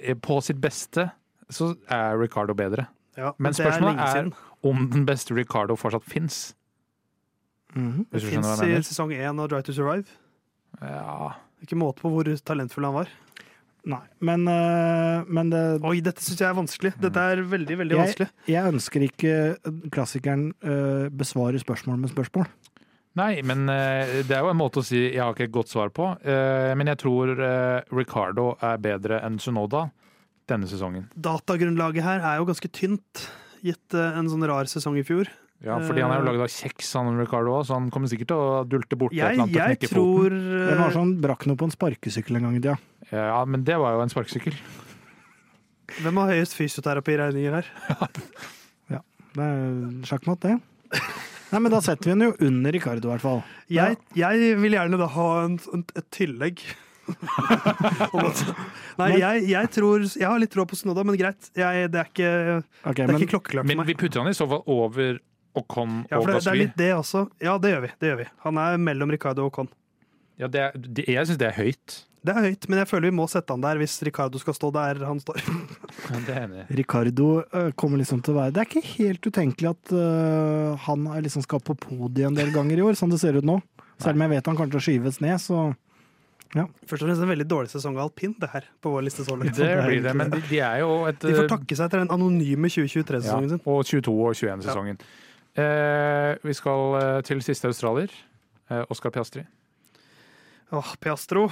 C: eh, på sitt beste så er Ricardo bedre.
A: Ja,
C: Men
A: det er
C: spørsmålet
A: lenge
C: er-
A: siden.
C: Om den beste Ricardo fortsatt fins.
B: Mhm.
A: Det
C: Hvis du skjønner
A: fins
C: hva
A: i
C: jeg mener.
A: sesong én av Drive to Survive.
C: Ja.
A: Ikke måte på hvor talentfull han var.
B: Nei, men, eh, men det,
A: Oi, dette syns jeg er vanskelig. Dette er
C: Mm.
A: veldig, veldig vanskelig.
B: jeg ønsker ikke klassikeren eh, besvarer spørsmål med spørsmål.
C: Nei, men eh, det er jo en måte å si jeg har ikke et godt svar på. Eh, men jeg tror eh, Ricardo er bedre enn Sunoda denne sesongen.
A: Datagrunnlaget her er jo ganske tynt, gitt eh, en sånn rar sesong i fjor.
C: Ja, fordi han er
A: Eh.
C: jo laget av kjeks, han Ricardo òg, så han kommer sikkert til å dulte borti et
A: Jeg,
C: eller annet og
A: jeg
C: knekke
A: tror
B: Hvem var det
C: sånn?
A: eh,
B: som brakk noe på en sparkesykkel en gang i tida?
C: foten. Ja, men det var jo en sparkesykkel.
A: Hvem har høyest fysioterapiregninger her?
B: Det er sjakkmatt, det. Nei, men da setter vi den jo under Ricardo, i hvert fall.
A: Jeg, jeg vil gjerne da ha en, en, et tillegg. Om at, nei,
B: Men-
A: jeg, jeg tror Jeg har litt tråd på Snoda, men greit. Jeg, det er ikke, det
B: Ok,
A: er
B: men
A: ikke klokkeklart
C: Men
A: for meg.
C: vi putter han i så fall over Ocon
A: Ja,
C: og
A: for det, det er
C: Gasly.
A: litt det også. Ja, det gjør vi. det gjør vi Han er mellom Ricardo og Con.
C: Ja, det er, det, jeg syns det er høyt.
A: Det er høyt, men jeg føler vi må sette han der hvis Ricardo skal stå der han står.
C: Ja, det er jeg enig i.
B: Ricardo eh, kommer liksom til å være Det er ikke helt utenkelig at eh, han er liksom skal på podiet en del ganger i år, sånn det ser ut nå. Selv om jeg vet han kommer til å skyves ned, så
A: Først og fremst en veldig dårlig sesong av alpin, det her, på vår liste så langt.
C: Det blir det, men de, de er jo et eh,
A: De får takke seg etter den anonyme 2023-sesongen sin.
C: Ja, og 22- og 21-sesongen. Eh, vi skal eh, til siste australier. Eh, Oscar Piastri.
A: Åh, Piastro.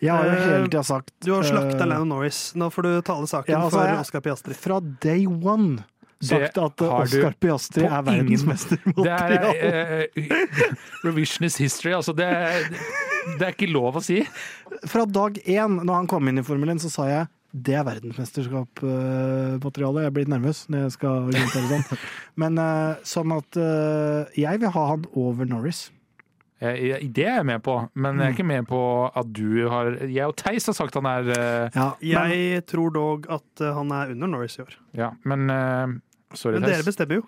B: jeg har jo
A: Eh,
B: hele tida sagt
A: Du har slakta
B: eh,
A: Lando Norris. Nå får du tale saken
B: Ja, altså, jeg-
A: for Oscar Piastri.
B: Fra day one sagt at
C: har du
B: Oskar Piastri er
C: på ingen-
B: verdensmester. i
C: Det er
B: material.
C: eh, revisionist history. Altså, det er, det er ikke lov å si.
B: Fra dag én, når han kom inn i Formel 1, så sa jeg det er verdensmesterskapsmateriale. Jeg blir nervøs når jeg skal orientere sånn. Men eh, sånn at eh, jeg vil ha han over Norris.
C: Eh, det er jeg med på, men
A: Mm.
C: jeg er ikke med på at du har Jeg og Theis har sagt han er eh,
B: Ja, men,
A: Jeg tror dog at eh, han er under Norris i år.
C: Ja, men eh, Sorry,
A: Men dere
C: Theis.
A: bestemmer jo.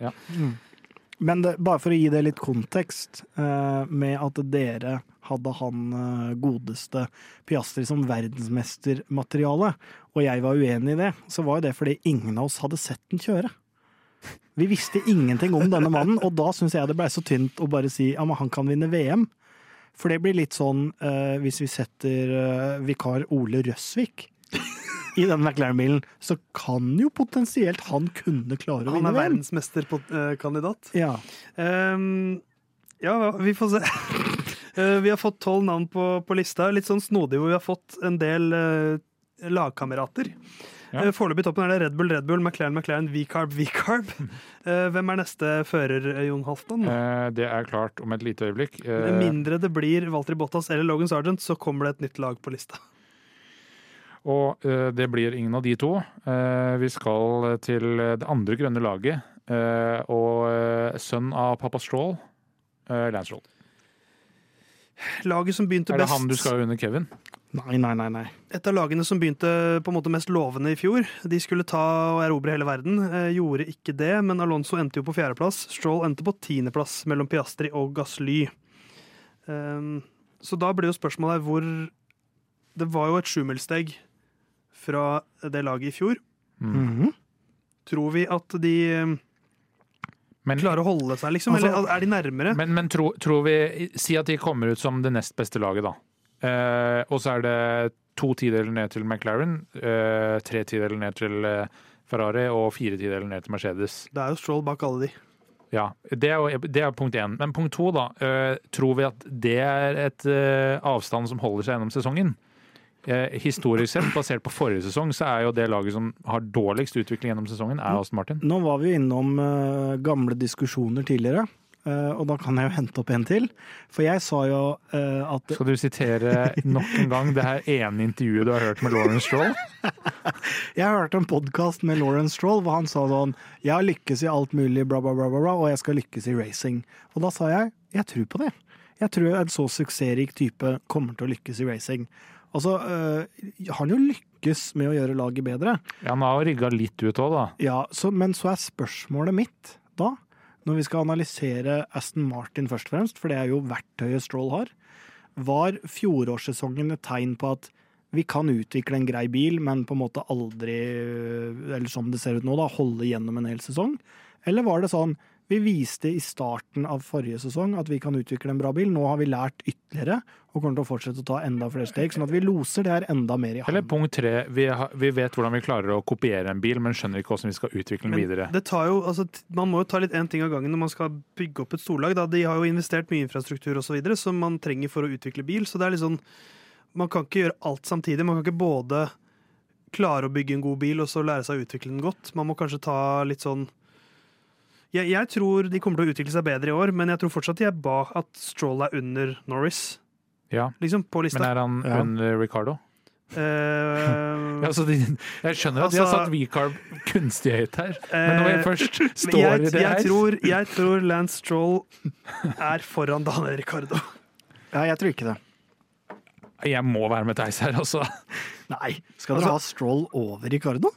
B: men det, bare for å gi det litt kontekst, eh, med at dere hadde han eh, godeste Piastri som verdensmestermateriale, og jeg var uenig i det, så var jo det fordi ingen av oss hadde sett den kjøre. Vi visste ingenting om denne mannen, og da syns jeg det blei så tynt å bare si ja, men han kan vinne VM. For det blir litt sånn eh, hvis vi setter eh, vikar Ole Røsvik i den McLaren-bilen, så kan jo potensielt han kunne klare å
A: Han
B: vinne
A: er eh,
B: VM.
A: verdensmesterkandidat.
B: Ja.
A: Um, ja, vi får se. Eh, vi har fått tolv navn på, på lista. Litt sånn snodig hvor vi har fått en del eh, lagkamerater.
C: Ja.
A: Eh, Foreløpig i toppen er det Red Bull, Red Bull, McLaren, McLaren, V-Carb, V-Carb. Eh, hvem er neste fører, eh, Jon Halvdan?
C: Eh, det er klart om et lite øyeblikk. Eh,
A: Med mindre det blir Walter Bottas eller Logan Sargent, så kommer det et nytt lag på lista.
C: Og eh, det blir ingen av de to. Eh, vi skal til det andre grønne laget. eh, og eh, sønn av pappa Stroll, eh, Lance Stroll.
A: Laget som begynte
C: Er det han du
A: best,
C: skal under Kevin?
B: Nei, nei, nei. nei.
A: et av lagene som begynte på en måte mest lovende i fjor. De skulle ta og erobre hele verden. Eh, gjorde ikke det, men Alonso endte jo på fjerdeplass. Stroll endte på tiendeplass mellom Piastri og Gasly. Ehm, så da blir jo spørsmålet her hvor Det var jo et sjumilssteg fra det laget i fjor.
C: Mm.
B: Mhm.
A: Tror vi at de eh,
C: Men,
A: klarer å holde seg, liksom?
B: Altså-
A: eller er de nærmere?
C: men, men tro, tror vi Si at de kommer ut som det nest beste laget, da. Eh, og så er det to tideler ned til McLaren, eh, tre tideler ned til eh, Ferrari og fire tideler ned til Mercedes.
A: Det er jo Stroll bak alle de.
C: Ja, det er, jo- det er punkt én. Men punkt to, da. øh, tror vi at det er et øh, avstand som holder seg gjennom sesongen? Eh, historisk sett, basert på forrige sesong, så er jo det laget som har dårligst utvikling gjennom sesongen, er Aston Martin.
B: Nå var vi jo innom eh, gamle diskusjoner tidligere, eh, og da kan jeg jo hente opp en til. For jeg sa jo eh, at
C: Skal du sitere nok en gang det her ene intervjuet du har hørt med Lawrence Stroll?
B: Jeg hørte en podkast med Lawrence Stroll hvor han sa sånn Jeg har lykkes i alt mulig, bla, bla, bla, bla, bla, og jeg skal lykkes i racing. Og da sa jeg jeg tror på det. Jeg tror en så suksessrik type kommer til å lykkes i racing. Og så øh, har han jo lykkes med å gjøre laget bedre.
C: Ja, Han har jo rygga litt ut òg, da.
B: Ja, så, men så er spørsmålet mitt da, når vi skal analysere Aston Martin først og fremst, for det er jo verktøyet Stroll har, var fjorårssesongen et tegn på at vi kan utvikle en grei bil, men på en måte aldri, øh, eller som det ser ut nå, da, holde gjennom en hel sesong? Eller var det sånn vi viste i starten av forrige sesong at vi kan utvikle en bra bil, nå har vi lært ytterligere og kommer til å fortsette å ta enda flere steg, sånn at vi loser det her enda mer i
C: Eller
B: havn.
C: punkt tre, vi, har, vi vet hvordan vi klarer å kopiere en bil, men skjønner ikke hvordan vi skal utvikle den
A: Men
C: videre.
A: Det tar jo, altså, t- man må jo ta litt én ting av gangen når man skal bygge opp et storlag. Da. De har jo investert mye i infrastruktur og så videre, som man trenger for å utvikle bil. Så det er litt sånn, man kan ikke gjøre alt samtidig. Man kan ikke både klare å bygge en god bil og så lære seg å utvikle den godt. Man må kanskje ta litt sånn jeg, jeg tror de kommer til å utvikle seg bedre i år, men jeg tror fortsatt de er ba at Stroll er under Norris,
C: Ja,
A: liksom, på
C: men eh,
A: lista.
C: er han
B: Ja.
C: under Ricardo?
A: Eh,
C: Ja, altså, så de, jeg skjønner at de har
A: Altså-
C: satt V-carb kunstig høyt her, men når jeg
A: Eh,
C: først
A: men
C: står i
A: jeg,
C: det
A: jeg,
C: her
A: tror, jeg tror Lance Stroll er foran Daniel Ricardo.
B: Ja, jeg tror ikke det.
C: Jeg må være med Theis her, altså.
B: Nei. Skal
A: Altså-
B: dere ha Stroll over Ricardo?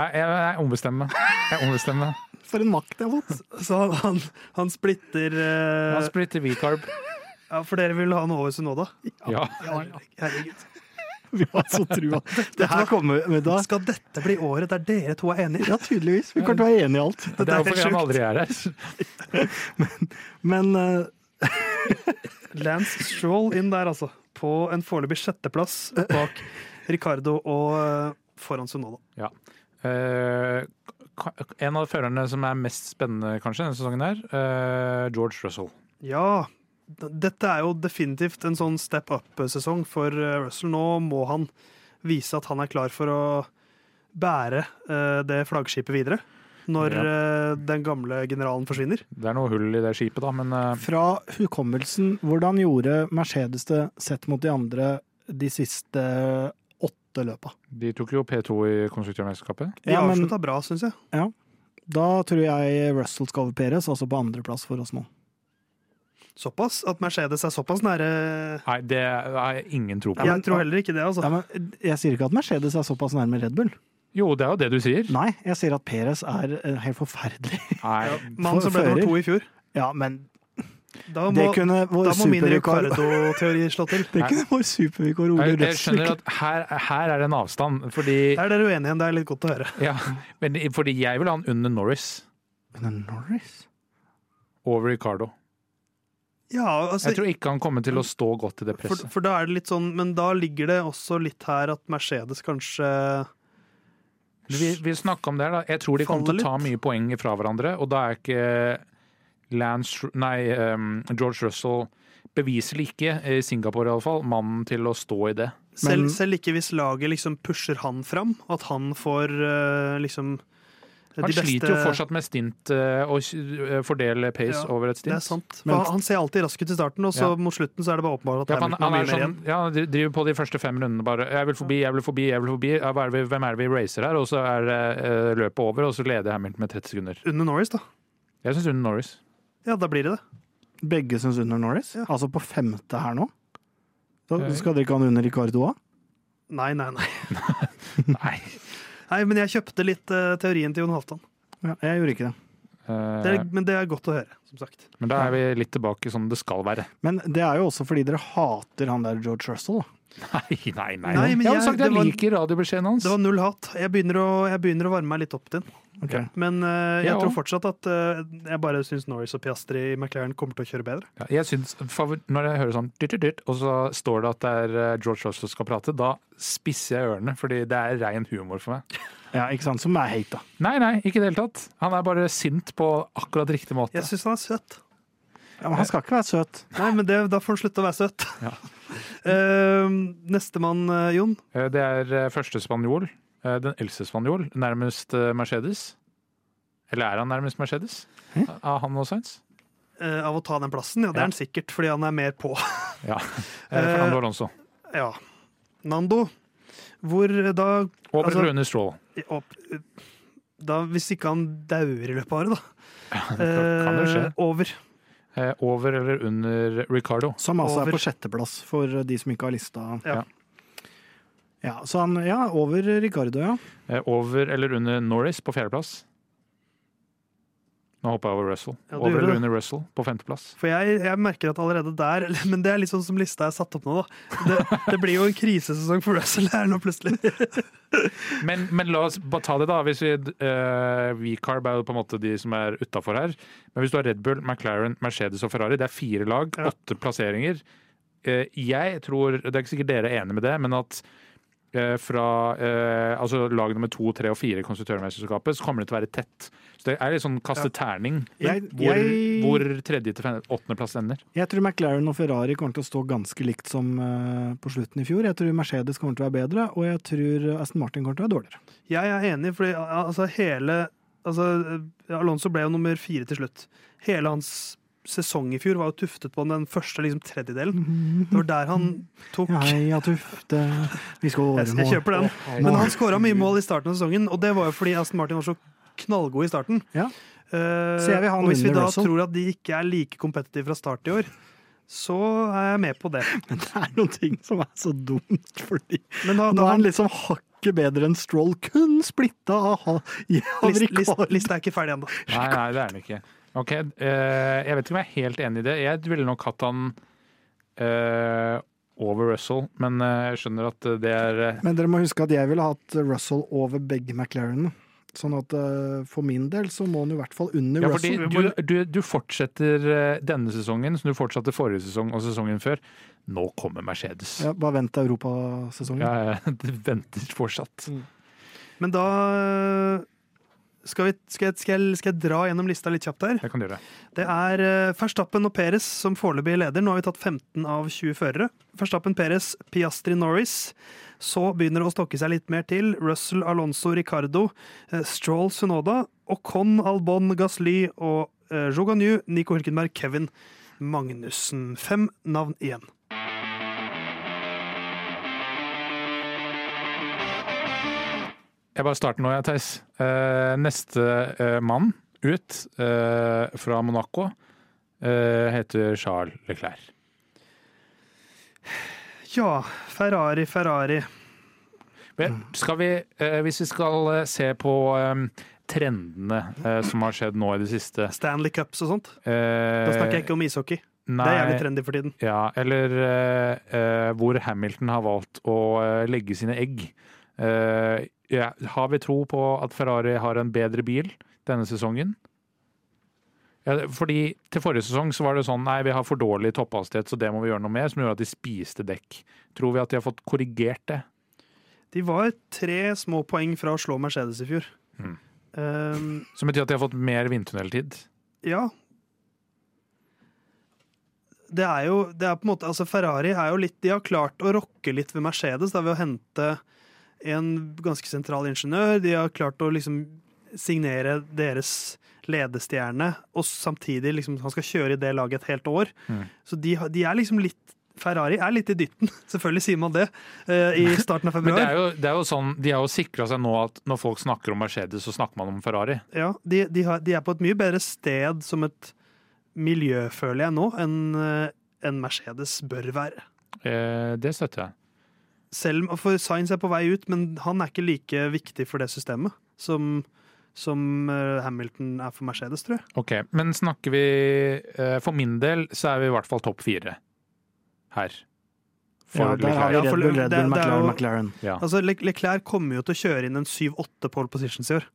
C: Nei, Jeg, jeg ombestemmer meg. Jeg ombestemmer meg.
B: For en makt jeg har fått!
A: Så han, han, han splitter eh,
C: Han splitter V-carb.
A: ja, For dere vil ha han over Sunoda?
C: Ja.
A: Herregud.
B: Vi har så trua. Det her kommer men da,
A: Skal dette bli året der dere to er enige?
B: Ja, tydeligvis. Vi kommer til å være enige i alt.
C: Det er
A: er
C: fordi han
A: sjukt.
C: aldri er her.
B: Men eh,
A: Lance Stroll inn der, altså. På en foreløpig sjetteplass bak Ricardo og eh, foran Sunoda.
C: Ja. Eh, ka- en av førerne som er mest spennende kanskje denne sesongen, her, eh, George Russell.
A: Ja, d- dette er jo definitivt en sånn step up-sesong for eh, Russell. Nå må han vise at han er klar for å bære eh, det flaggskipet videre. Når eh, den gamle generalen forsvinner.
C: Det er noe hull i det skipet, da, men eh,
B: fra hukommelsen, hvordan gjorde Mercedes det sett mot de andre de siste åtte løpa?
C: de tok jo P2 i konstruktørmesterskapet.
A: De
B: Ja, men
A: avslutta bra, syns jeg.
B: da tror jeg Russell skal over Perez, altså på andreplass for oss nå.
A: Såpass at Mercedes er såpass nære.
C: Nei, det har jeg ingen tro på.
A: Jeg tror heller ikke det, altså.
B: Ja, men jeg sier ikke at Mercedes er såpass nærme Red Bull.
C: Jo, det er jo det du sier.
B: Nei, jeg sier at Perez er eh, helt forferdelig.
C: Nei,
A: Mannen som ble nummer
B: Fører.
A: to i fjor.
B: Ja, men
A: Da
B: det
A: må,
B: kunne vår
A: da må min
B: supervikar
A: Ricardo-teori slå til.
B: Det kunne vår supervikar Ole
C: jeg, jeg
B: Russell
C: skjønner at her, her er det en avstand, fordi,
A: Der er dere uenige igjen, det er litt godt å høre.
C: ja, men, fordi jeg vil ha han under Norris
B: Men Norris?
C: over Ricardo.
A: Ja, altså,
C: Jeg tror ikke han kommer til å stå godt i det
A: for,
C: presset.
A: for da er det litt sånn, men da ligger det også litt her at Mercedes kanskje
C: Vi, vi snakka om det her, da. Jeg tror de kommer til å ta mye poeng fra hverandre, og da er ikke Lance Nei, um, George Russell beviselig ikke, eh, i Singapore iallfall, mannen til å stå i det.
A: Selv,
B: Men-
A: selv ikke hvis laget liksom pusher han fram, at han får eh, liksom de
C: Han
A: beste
C: sliter jo fortsatt med stint eh, og eh, fordele pace
A: Ja,
C: over et
A: Det er
C: stint.
A: sant. For
B: Men-
A: han- han ser alltid rask ut i starten, og så
C: Ja.
A: mot slutten så er det bare åpenbart at
C: Ja, for han,
A: Hamilton
C: han
A: har
C: er
A: mye mer igjen.
C: sånn, ja, han driver på de første fem rundene bare. 'Jeg vil forbi, jeg vil forbi, jeg vil forbi'. Ja, hva er det vi, hvem er det vi racer her? Og så er eh, løpet over, og så leder Hamilton med 30 sekunder.
A: Under Norris, da.
C: Jeg syns under Norris.
A: Ja, da blir det det.
B: Begge syns under Norris?
A: Ja.
B: Altså på femte her nå? Da
C: Ja.
B: skal dere ikke ha han under Ricardo òg?
A: Nei, nei, nei.
C: Nei.
A: Nei, Men jeg kjøpte litt eh, teorien til Jon Halvdan.
B: Ja, jeg gjorde ikke det.
C: Eh,
A: Det er, men det er godt å høre, som sagt.
C: men da er vi litt tilbake som det skal være.
B: Men det er jo også fordi dere hater han der George Russell. da.
C: Nei, nei, nei.
A: Nei, men
C: jeg,
A: jeg-
C: har sagt
A: det
C: jeg
A: var-
C: liker radiobeskjeden hans.
A: Det var null hat. Jeg begynner å, jeg begynner å varme meg litt opp til den. Men eh, jeg
C: Ja.
A: tror fortsatt at eh, jeg bare syns Norris og Piastri i McLaren kommer til å kjøre bedre.
C: Ja, jeg synes, favor- Når jeg hører sånn dyrt, dyrt, dyrt, og så står det at det er eh, George Russell som skal prate, da spisser jeg ørene, fordi det er ren humor for meg.
B: Ja, ikke sant? Som er hate, da.
C: Nei, nei, ikke i det hele tatt. Han er bare sint på akkurat riktig måte.
A: Jeg syns han er søt.
B: Ja, men han skal ikke være søt.
A: Nei, men det, da får han slutte å være søt.
C: Ja.
A: Eh, Nestemann, eh, Jon.
C: Eh, Det er eh, første spanjol, eh, den eldste spanjol, nærmest eh, Mercedes. Eller er han nærmest Mercedes? Av han og Sainz?
A: eh, av å ta den plassen. Ja, det
C: Ja.
A: er han sikkert, fordi han er mer på.
C: Ja. Eh, Fernando Alonso.
A: Ja. Nando, hvor da,
C: Og
A: altså-
C: Brune Stroll.
A: opp, eh, da Hvis ikke han dauer i løpet av året, da.
C: kan jo skje.
A: Eh, over.
C: Eh, Over eller under Ricardo.
B: Som altså
A: Over.
B: er på sjetteplass, for de som ikke har lista.
A: Ja.
B: Ja, så han, ja, over Ricardo, ja.
C: Eh, Over eller under Norris på fjerdeplass? Nå hoppa jeg over Russell.
A: Ja, du
C: over
A: gjorde
C: eller
A: det.
C: under Russell på femteplass.
A: For jeg, jeg merker at allerede der Men det er litt sånn som lista er satt opp nå, da. Det, det blir jo en krisesesong for Russell her nå, plutselig.
C: Men, men la oss bare ta det, da. Hvis vi, eh, V-Carb er jo på en måte de som er utafor her. Men hvis du har Red Bull, McLaren, Mercedes og Ferrari, det er fire lag,
A: Ja.
C: åtte plasseringer. Eh, jeg tror Det er ikke sikkert dere er enig med det, men at eh, fra eh, altså lag nummer to, tre og fire i konstruktørmesterskapet, så kommer det til å være tett. Så det er litt sånn kaste terning.
B: Jeg,
C: Hvor,
B: jeg,
C: hvor tredje til fem- åttendeplass ender.
B: jeg tror McLaren og Ferrari kommer til å stå ganske likt som eh, på slutten i fjor. Jeg tror Mercedes kommer til å være bedre, og jeg tror Aston Martin kommer til å være dårligere.
A: Jeg er enig, fordi al- altså hele altså, eh, Alonso ble jo nummer fire til slutt. Hele hans sesong i fjor var jo tuftet på den første liksom, tredjedelen. Det var der han tok
B: Heia Tuff, det Vi skal
A: Jeg, jeg kjøper den. Men han skåra mye mål i starten av sesongen, og det var jo fordi Aston Martin var så knallgod i starten.
B: Ja.
A: Eh,
B: Så jeg vil ha en
A: og hvis vi
B: Linda
A: da
B: Russell.
A: tror at de ikke er like kompetitive fra start i år, så er jeg med på det.
B: Men det er noen ting som er så dumt, fordi
A: Men da,
B: nå
A: da
B: er han liksom hakket bedre enn Stroll. Kun splitta av ha- i
A: list, list,
B: Ricard.
A: lista er ikke ferdig ennå.
C: Nei, nei, det er den ikke. Ok, eh, Jeg vet ikke om jeg er helt enig i det. Jeg ville nok hatt han eh, over Russell, men eh, jeg skjønner at det er eh,
B: Men dere må huske at jeg ville hatt Russell over begge McLarenene. Sånn at eh, for min del så må han i hvert fall under
C: ja, fordi
B: Russell.
C: du, du, du fortsetter eh, denne sesongen som du fortsatte forrige sesong og sesongen før. Nå kommer Mercedes.
B: Ja, bare vent til europasesongen.
C: Ja, ja, det venter fortsatt.
A: Men da eh, skal, vi, skal, jeg, skal, jeg, skal jeg dra gjennom lista litt kjapt her?
C: Jeg kan gjøre det.
A: Det er eh, Verstappen og Perez som foreløpig leder. Nå har vi tatt 15 av 20 førere. Verstappen, Perez, Piastri, Norris. Så begynner det å stokke seg litt mer til. Russell, Alonso, Ricardo, eh, Stroll, Sunoda, Ocon, Albon, Gasly og eh, Joganyu, Nico Hulkenberg, Kevin Magnussen. Fem navn igjen.
C: Jeg bare starter nå, jeg, Theis. Eh, neste eh, mann ut eh, fra Monaco eh, heter Charles Leclerc.
A: Ja, Ferrari, Ferrari.
C: Men skal vi, eh, hvis vi skal eh, se på eh, trendene eh, som har skjedd nå i det siste
A: Stanley Cups og sånt.
C: eh,
A: Da snakker jeg ikke om ishockey. Det er jævlig trendy for tiden.
C: Ja, eller eh, eh, hvor Hamilton har valgt å eh, legge sine egg. Eh, ja, har vi tro på at Ferrari har en bedre bil denne sesongen? Ja, det- fordi til forrige sesong så var det sånn nei, vi har for dårlig topphastighet, så det må vi gjøre noe med, som gjorde at de spiste dekk. Tror vi at de har fått korrigert det?
A: De var tre små poeng fra å slå Mercedes i fjor.
C: Mm.
A: Um,
C: Som betyr at de har fått mer vindtunneltid?
A: Ja. Det er jo det er på en måte, altså Ferrari er jo litt, de har klart å rokke litt ved Mercedes da, ved å hente en ganske sentral ingeniør. De har klart å liksom signere deres ledestjerne, og samtidig liksom, han skal kjøre i det laget et helt år.
C: Mm.
A: Så de, har- de er liksom litt Ferrari er litt i dytten, selvfølgelig sier man det, eh, i starten av
C: Men
A: februar.
C: det er jo, det er jo sånn, de har jo sikra seg nå at når folk snakker om Mercedes, så snakker man om Ferrari.
A: Ja, de, de, har, de er på et mye bedre sted som et miljø, føler jeg nå, enn eh, enn Mercedes bør være.
C: Eh, det støtter jeg.
A: Selv om for Sainz er på vei ut, men han er ikke like viktig for det systemet som, som eh, Hamilton er for Mercedes, tror jeg.
C: Ok, men snakker vi eh, For min del så er vi i hvert fall topp fire her.
B: Ja,
C: For
B: der har vi
C: Leclerc.
A: Ja, for
B: Red Bull,
A: det-
B: Red
A: det er
B: Bull, McLaren,
A: jo-
B: McLaren.
C: Ja.
A: Altså, Le Leclerc kommer jo til å kjøre inn en 7-8 pole positions i år.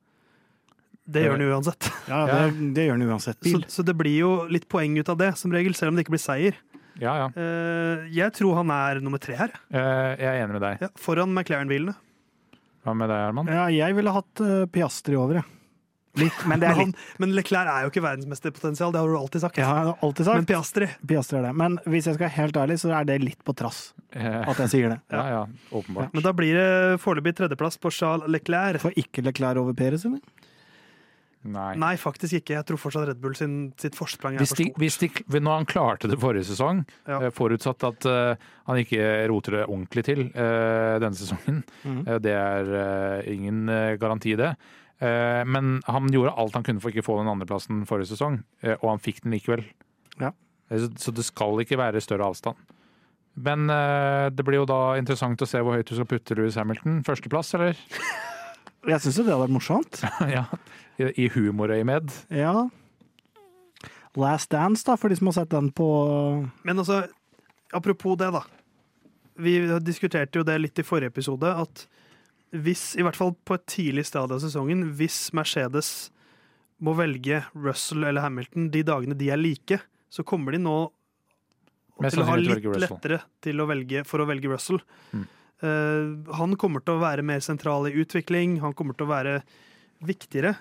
A: Det
C: Ja.
A: gjør han jo uansett.
B: Ja, det, det gjør han uansett.
A: Så,
B: Bil.
A: så det blir jo litt poeng ut av det, som regel, selv om det ikke blir seier.
C: ja, ja.
A: Eh, jeg tror han er nummer tre her,
C: Eh, jeg er enig med deg.
A: ja, foran McLaren-bilene.
C: Hva med deg, Herman?
B: Ja, jeg ville hatt eh, Piastri over, jeg. Litt, men det
A: Men,
B: er litt
A: han, men Leclerc er jo ikke verdensmesterpotensial, det har du alltid sagt.
B: Jeg har alltid
A: Men
B: sagt
A: Piastri
B: Piastri er det. Men hvis jeg skal være helt ærlig, så er det litt på trass
C: Eh,
B: at jeg sier det.
C: ja, ja, åpenbart.
A: Men da blir det foreløpig tredjeplass på Charles Leclerc.
B: Får ikke Leclerc over Perez, eller?
C: Nei.
A: Nei, faktisk ikke. Jeg tror fortsatt Red Bull sin, sitt forsprang er
C: Hvis
A: for
C: de,
A: stort.
C: hvis de, når han klarte det forrige sesong,
A: Ja.
C: eh, forutsatt at eh, han ikke roter det ordentlig til eh, denne sesongen,
B: Mhm.
C: eh, det er eh, ingen eh, garanti det, Eh, men han gjorde alt han kunne for ikke å få den andreplassen forrige sesong, eh, og han fikk den likevel.
B: Ja.
C: Eh, Så, så det skal ikke være større avstand. Men eh, det blir jo da interessant å se hvor høyt du skal putte Louis Hamilton. Førsteplass, eller?
B: Jeg syns jo det hadde vært morsomt.
C: ja, i, i humorøyemed.
B: Ja. Last Dance, da, for de som har sett den på
A: Men altså, apropos det, da. Vi diskuterte jo det litt i forrige episode, at hvis, i hvert fall på et tidlig stadium av sesongen, hvis Mercedes må velge Russell eller Hamilton de dagene de er like, så kommer de nå
C: Mest
A: til å ha litt
C: sannsynlig til å velge Russell.
A: lettere til å velge, for å velge Russell.
C: Mm.
A: Eh, han kommer til å være mer sentral i utvikling, han kommer til å være viktigere.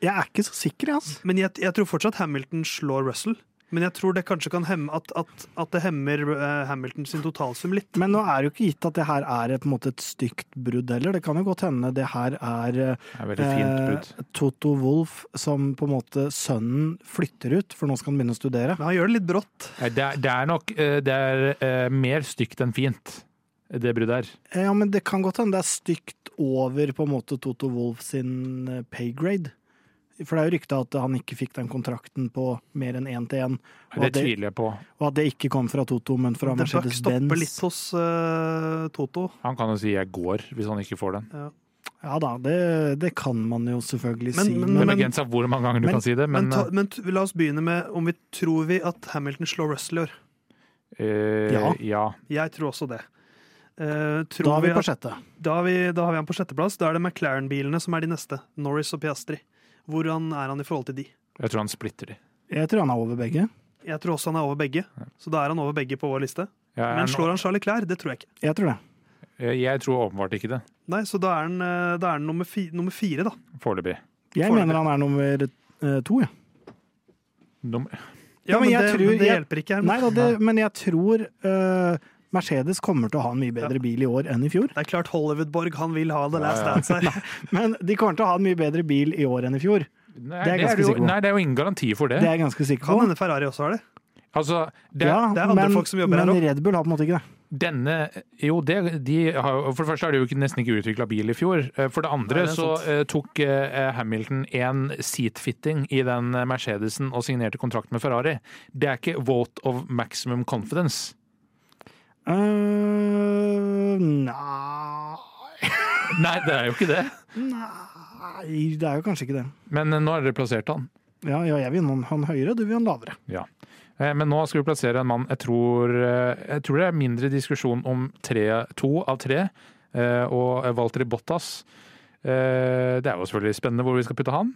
B: Jeg er ikke så sikker, jeg, altså.
A: Men jeg, jeg tror fortsatt Hamilton slår Russell. Men jeg tror det kanskje kan hemme at, at, at det hemmer eh, Hamilton sin totalsum litt.
B: Men nå er det jo ikke gitt at det her er et, på en måte et stygt brudd heller. Det kan jo godt hende det her er eh,
C: Det er veldig fint brudd.
B: Eh, Toto Wolff som på en måte sønnen flytter ut, for nå skal han begynne å studere.
A: Men han gjør det litt brått.
C: Nei, Det er, det er nok eh, det er, eh, mer stygt enn fint, det bruddet her.
B: Eh, Ja, men det kan godt hende det er stygt over på en måte Toto Wolff sin eh, paygrade. For det er jo rykta at han ikke fikk den kontrakten på mer enn én til én, og,
C: Det
B: at det-
C: tviler jeg på.
B: og at det ikke kom fra Toto, men fra
A: Den bør stoppe litt
B: Mercedes-Benz.
A: hos eh, Toto.
C: Han kan jo si 'jeg går', hvis han ikke får den.
B: Ja da, det, det kan man jo selvfølgelig
A: Men-
B: si.
A: men-
C: Det
B: Men,
C: er begrensa hvor mange ganger du
B: men-
C: kan si det,
A: Men,
C: men, eh,
A: ta, men t- la oss begynne med om vi tror vi at Hamilton slår Russell i år.
C: eh,
B: Ja.
C: ja.
A: Jeg tror også det. Eh, tror
B: da er vi
A: vi at,
B: på sjette.
A: da, har vi, da har vi han på sjetteplass. Da er det McLaren-bilene som er de neste. Norris og Piastri. Hvordan er han i forhold til de?
C: Jeg tror han splitter de.
B: Jeg tror han er over begge.
A: Jeg tror også han er over begge, så da er han over begge på vår liste.
C: Jeg, er
A: Men
C: nå-
A: slår han Charlie Clair? Det tror jeg ikke.
B: Jeg tror det.
C: jeg tror åpenbart ikke det,
A: Nei, Så da er han, eh, da er han nummer, fi, nummer fire, da.
C: foreløpig.
B: Jeg
A: Foreløpig.
B: mener han er nummer eh, to, ja.
C: Num-
A: Ja,
B: men
A: men,
B: jeg
A: det,
B: tror-
A: men det
B: jeg-
A: hjelper ikke. her.
B: Nei, da, det, men jeg tror eh, Mercedes kommer til å ha en mye bedre bil i år enn i fjor.
A: Det er klart Hollywood-Borg han vil ha the last
C: Ja, ja.
A: dance her.
B: Men de kommer til å ha en mye bedre bil i år enn i fjor.
C: Nei,
B: Det er jeg ganske
C: jo-
B: sikker på.
C: Nei, det er jo ingen garanti for det.
B: Det er jeg ganske sikker
A: Kan
B: på.
A: hende Ferrari også har det.
C: Altså, det,
B: ja,
A: det er andre
B: men,
A: folk som jobber her
B: men
A: også.
B: Red Bull har på en måte ikke det.
C: denne Jo, det, de har, jo- for det første har de jo ikke, nesten ikke utvikla bil i fjor. Eh, For det andre
A: Nei, det er
C: så
A: sant.
C: eh, tok eh, Hamilton en seatfitting i den eh, Mercedesen og signerte kontrakt med Ferrari. Det er ikke vote of maximum confidence.
B: Eh, nei
C: Nei, det er jo ikke det.
B: Nei, det er jo kanskje ikke det.
C: Men eh, nå har dere plassert han.
B: Ja, ja jeg vil ha han høyere, du vil ha han lavere.
C: Ja. Eh, Men nå skal vi plassere en mann Jeg tror, eh, jeg tror det er mindre diskusjon om tre, to av tre, eh, og Walter Bottas. Eh, Det er jo selvfølgelig spennende hvor vi skal putte han.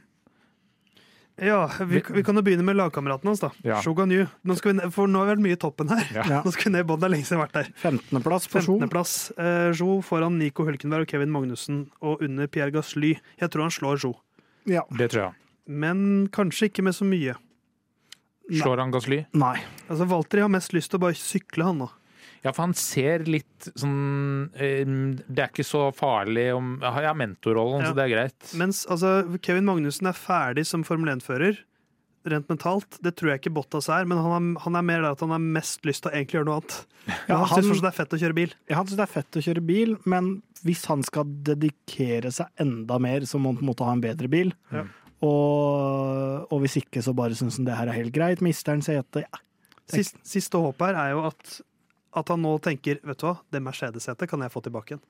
A: Ja, vi, vi kan jo begynne med lagkameraten hans, da.
C: Ja.
A: Shogun Yu. Nå skal vi ned, for nå har vi vært mye i toppen her.
C: Ja.
B: Ja.
A: Nå skal vi ned i bånn. Det er lenge siden jeg har vært der.
B: 15.-plass for Sjo.
A: 15.-plass. Eh, Jo foran Nico Hulkenberg og Kevin Magnussen, og under Pierre Gasly. Jeg tror han slår Jo,
B: Ja.
C: Det tror jeg.
A: men kanskje ikke med så mye.
C: Slår han Gasly?
B: Nei.
A: Altså, Walter har mest lyst til å bare sykle, han nå.
C: Ja, for han ser litt sånn eh, Det er ikke så farlig om Jeg har jeg har mentorrollen,
A: Ja.
C: så det er greit.
A: Mens altså, Kevin Magnussen er ferdig som Formel 1-fører, rent mentalt. Det tror jeg ikke Bottas er, men han er, han er mer der at han har mest lyst til å egentlig gjøre noe annet.
B: Ja,
A: han,
B: han-
A: synes fortsatt det er fett å kjøre bil.
B: Han syns det er fett å kjøre bil, men hvis han skal dedikere seg enda mer, så må han på en måte ha en bedre bil.
A: Ja.
B: Og, og hvis ikke, så bare syns han det her er helt greit. Mister han setet? Ja.
A: Sist, siste håp her er jo at, at han nå tenker Vet du hva, det Mercedes-setet kan jeg få tilbake igjen.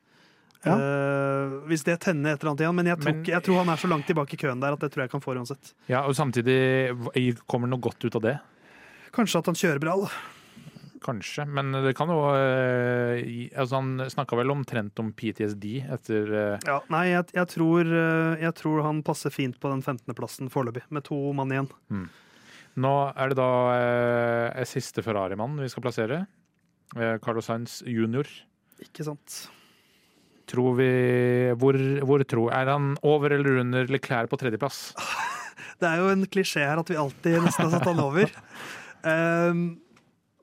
B: Ja.
A: Eh, hvis det tenner et eller annet igjen. Men jeg, tror,
C: Men-
A: ikke- jeg tror han er så langt tilbake i køen der at det tror jeg kan få uansett.
C: Ja, Og samtidig hva- kommer det noe godt ut av det.
A: Kanskje at han kjører bra, da.
C: Kanskje. Men det kan jo eh, gi- altså Han snakka vel omtrent om PTSD etter eh,
A: Ja, nei, jeg, jeg, tror, eh, jeg tror han passer fint på den 15.-plassen foreløpig, med to mann igjen.
C: Nå er det da eh, siste Ferrari-mann vi skal plassere. Eh, Carlos Sainz jr.
A: Ikke sant?
C: Tror vi Hvor, hvor tror Er han over eller under Leclerc på tredjeplass?
A: Det er jo en klisjé her at vi alltid nesten har satt han over. Ehm,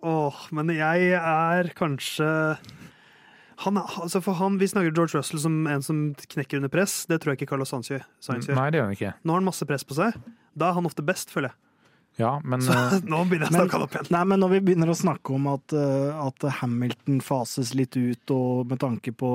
A: åh, men jeg er kanskje han, er- altså for han, Vi snakker George Russell som en som knekker under press. Det tror jeg ikke Carlos Sainz gjør. Sainz gjør.
C: Nei, det gjør han ikke.
A: Nå har han masse press på seg. Da er han ofte best, føler jeg.
C: Ja, men eh,
A: Så nå begynner jeg å
B: Men-
A: snakke han opp igjen.
B: Nei, men når vi begynner å snakke om at, eh, at Hamilton fases litt ut, og med tanke på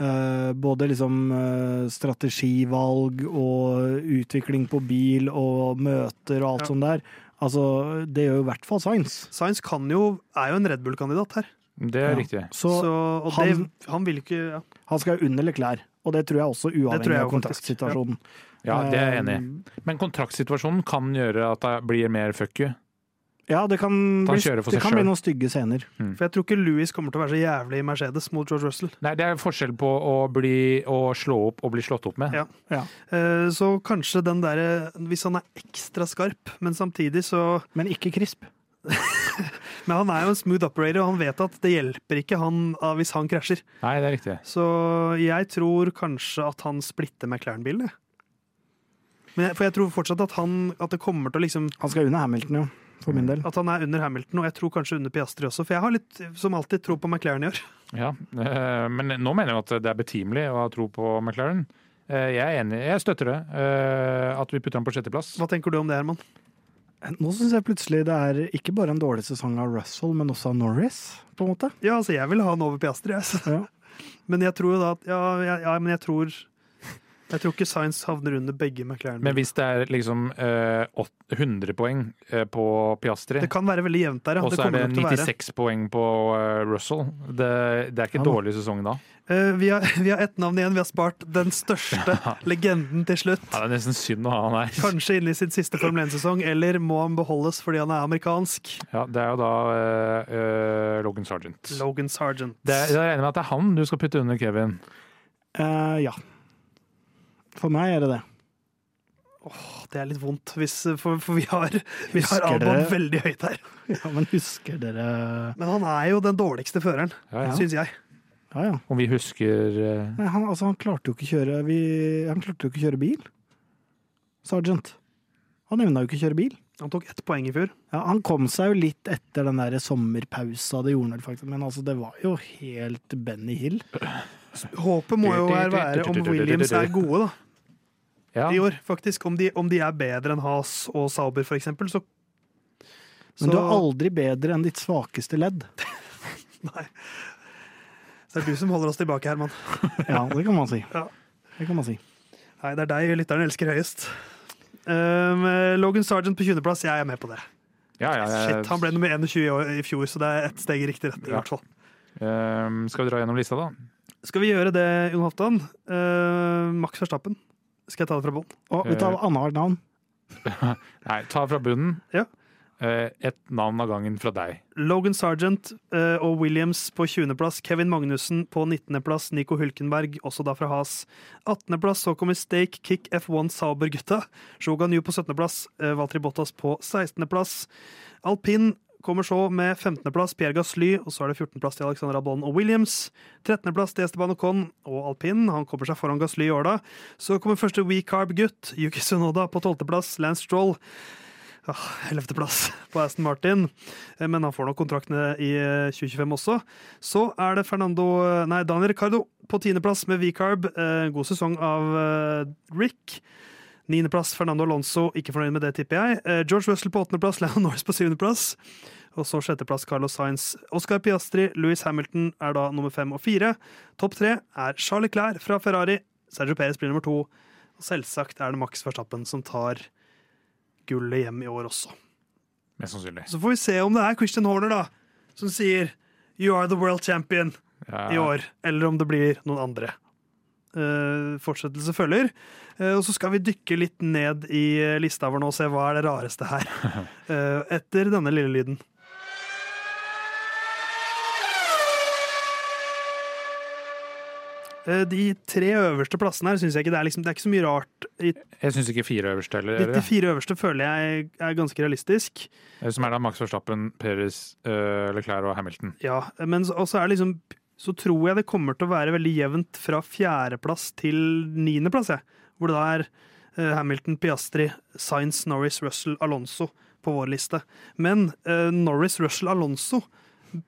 B: eh, både liksom eh, strategivalg og utvikling på bil og møter og alt
A: Ja.
B: sånt der, altså det gjør jo i hvert fall Sainz.
A: Sainz kan jo, er jo en Red Bull-kandidat her.
C: det er
B: Ja.
C: riktig.
B: Så,
A: Så, og det,
B: han-
A: han vil ikke ja.
B: han skal jo under Leclerc, og det tror jeg også
A: Det tror
B: uavhengig
A: jeg
B: av
A: jo faktisk,
B: kontraktsituasjonen.
C: Ja, det er jeg enig i.
B: Um,
C: Men kontraktsituasjonen kan gjøre at det blir mer fuck you.
B: Ja, det kan,
C: Han
B: bli,
C: kjører for
B: det
C: seg
B: kan bli
C: selv.
B: noen stygge scener.
A: For jeg tror ikke Louis kommer til å være så jævlig i Mercedes mot George Russell.
C: Nei, det er forskjell på å, bli, å slå opp og bli slått opp med.
A: Ja.
B: Ja.
A: Eh, Så kanskje den derre Hvis han er ekstra skarp, men samtidig så
B: Men ikke krisp.
A: Men han er jo en smooth operator, og han vet at det hjelper ikke han ah, hvis han krasjer.
C: Nei, det er riktig.
A: Så jeg tror kanskje at han splitter McLaren-bilen, jeg. Men jeg. For jeg tror fortsatt at, han, at det kommer til å liksom
B: Han skal under Hamilton, jo. for
C: Mm.
B: min del.
A: At han er under Hamilton, og jeg tror kanskje under Piastri også. For jeg har litt, som alltid, tro på McLaren i år.
C: Ja, eh, men nå mener jeg at det er betimelig å ha tro på McLaren. Eh, Jeg er enig, jeg støtter det. eh, At vi putter ham på sjetteplass.
A: Hva tenker du om det, Herman?
B: Nå syns jeg plutselig det er ikke bare en dårlig sesong av Russell, men også av Norris, på en måte.
A: Ja, altså, jeg vil ha han over Piastri, jeg. så-
B: Ja.
A: Men jeg tror jo da at Ja, ja, ja men jeg tror Jeg tror ikke Science havner under begge McLaren.
C: Men hvis det er liksom eh, åt- 100 poeng eh, på Piastri,
A: det kan være veldig jevnt der, ja.
C: og
A: Det
C: så er
A: kommer
C: det
A: nok til å være.
C: 96 poeng på eh, Russell, det, det er ikke
B: Ja da.
C: dårlig sesong da.
A: Eh, vi, har, vi har ett navn igjen. Vi har spart den største legenden til slutt.
C: Ja, det er nesten synd å ha han her.
A: Kanskje inne i sin siste Formel 1-sesong, eller må han beholdes fordi han er amerikansk?
C: Ja, det er jo da eh, eh, Logan Sergeant. Det
A: Logan Sergeant.
C: er, jeg er enig med at det er han du skal putte under Kevin.
B: Eh, ja. For meg er det det.
A: Det er litt vondt, hvis, for, for vi har, vi har
B: Husker
A: Albon
B: dere-
A: veldig høyt her.
B: Ja, men husker dere
A: Men han er jo den dårligste føreren,
C: Ja, ja.
A: synes syns jeg.
B: Ja, ja.
C: Om vi husker eh,
B: Nei, han, altså, han klarte jo ikke kjøre vi, Han klarte jo ikke kjøre bil. Sergeant. Han evna jo ikke kjøre bil.
A: Han tok ett poeng i fjor.
B: Ja, han kom seg jo litt etter den der sommerpausa, det gjorde han vel faktisk, men altså, det var jo helt Benny Hill.
A: Håpet må jo her være om Williams er gode da,
C: ja.
A: i år, faktisk. Om de, om de er bedre enn Haas og Sauber, for eksempel, så
B: Men du er
A: så-
B: aldri bedre enn ditt svakeste ledd.
A: så er det du som holder oss tilbake, Herman.
B: Ja, det kan man si.
A: Ja.
B: Det kan man si.
A: Nei, det er deg lytteren elsker høyest. Um, eh, Logan Sergeant på 20.-plass, jeg er med på det.
C: Ja, ja, ja.
A: Shit, han ble nummer 21 i, år, i fjor, så det er ett steg i riktig retning. i
C: Ja.
A: hvert fall.
C: Eh, skal vi dra gjennom lista, da?
A: Skal vi gjøre det, Jon Halvdan? Eh, Max Verstappen. Skal jeg ta det fra bånn?
B: Og vet du
A: Eh.
B: hva, annethvert navn.
C: Nei, ta fra bunnen.
A: Ja.
C: Eh, ett navn av gangen fra deg.
A: Logan Sergeant eh, og Williams på 20.-plass. Kevin Magnussen på 19.-plass. Nico Hulkenberg, også da fra Has. 18.-plass så kommer Stake, Kick F1 Sauber-gutta. Shogan Yu på 17.-plass. Eh, Valtri Bottas på 16.-plass. Alpin kommer så med 15.-plass Pierre Gasly, og så er det 14.-plass til Alexander Albon og Williams. 13.-plass til Esteban Ocon og Alpin. Han kommer seg foran Gasly i år, da. Så kommer første WeCarb-gutt, Yuki Sunoda, på 12.-plass. Lance Stroll. Ah, 11.-plass på Aston Martin. Eh, men han får nok kontraktene i eh, 2025 også. Så er det Fernando, eh, nei, Daniel Ricardo på tiendeplass med V-Carb. Eh, God sesong av eh, Rick. Niendeplass Fernando Alonso, ikke fornøyd med det, tipper jeg. Eh, George Russell på åttendeplass, Leon Norris på syvendeplass. Og så sjetteplass Carlos Sainz. Oscar Piastri, Louis Hamilton er da nummer fem og fire. Topp tre er Charlie Clair fra Ferrari. Sergio Perez blir nummer to. Og selvsagt er det Max Verstappen som tar gullet hjem i år også.
C: Mest sannsynlig.
A: Så får vi se om det er Christian Horner da som sier 'You are the world champion'
C: Ja.
A: i år, eller om det blir noen andre. Eh, fortsettelse følger. Eh, og så skal vi dykke litt ned i eh, lista vår nå og se hva er det rareste her. Eh, etter denne lille lyden. Eh, De tre øverste plassene her syns jeg ikke det er, liksom, det er ikke så mye rart. I
C: Jeg syns ikke fire øverste heller.
A: de,
C: gjør
A: de
C: det?
A: fire øverste føler jeg er ganske realistisk.
C: Eh, Som er da Max Verstappen, Perez, eh, Leclerc og Hamilton.
A: Ja, men så, og så er det liksom Så tror jeg det kommer til å være veldig jevnt fra fjerdeplass til niendeplass, jeg. Hvor det da er eh, Hamilton, Piastri, Sainz, Norris, Russell, Alonso på vår liste. Men eh, Norris, Russell, Alonso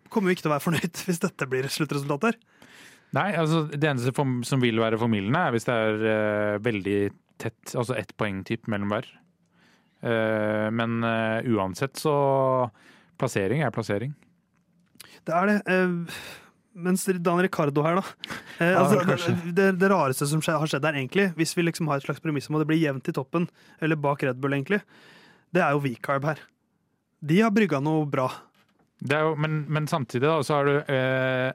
A: kommer jo ikke til å være fornøyd hvis dette blir sluttresultatet her.
C: Nei, altså det eneste form- som vil være formildende, er hvis det er eh, veldig tett, altså ett poengtipp mellom hver. Eh, men eh, uansett så Plassering er plassering.
A: Det er det. eh, mens Dan Ricardo her, da. Eh,
C: Ja,
A: altså,
C: kanskje.
A: det, det rareste som skje- har skjedd her, egentlig, hvis vi liksom har et slags premiss om at det blir jevnt i toppen, eller bak Red Bull, egentlig, det er jo V-Carb her. De har brygga noe bra.
C: Det er jo, men, men samtidig da, så har du eh,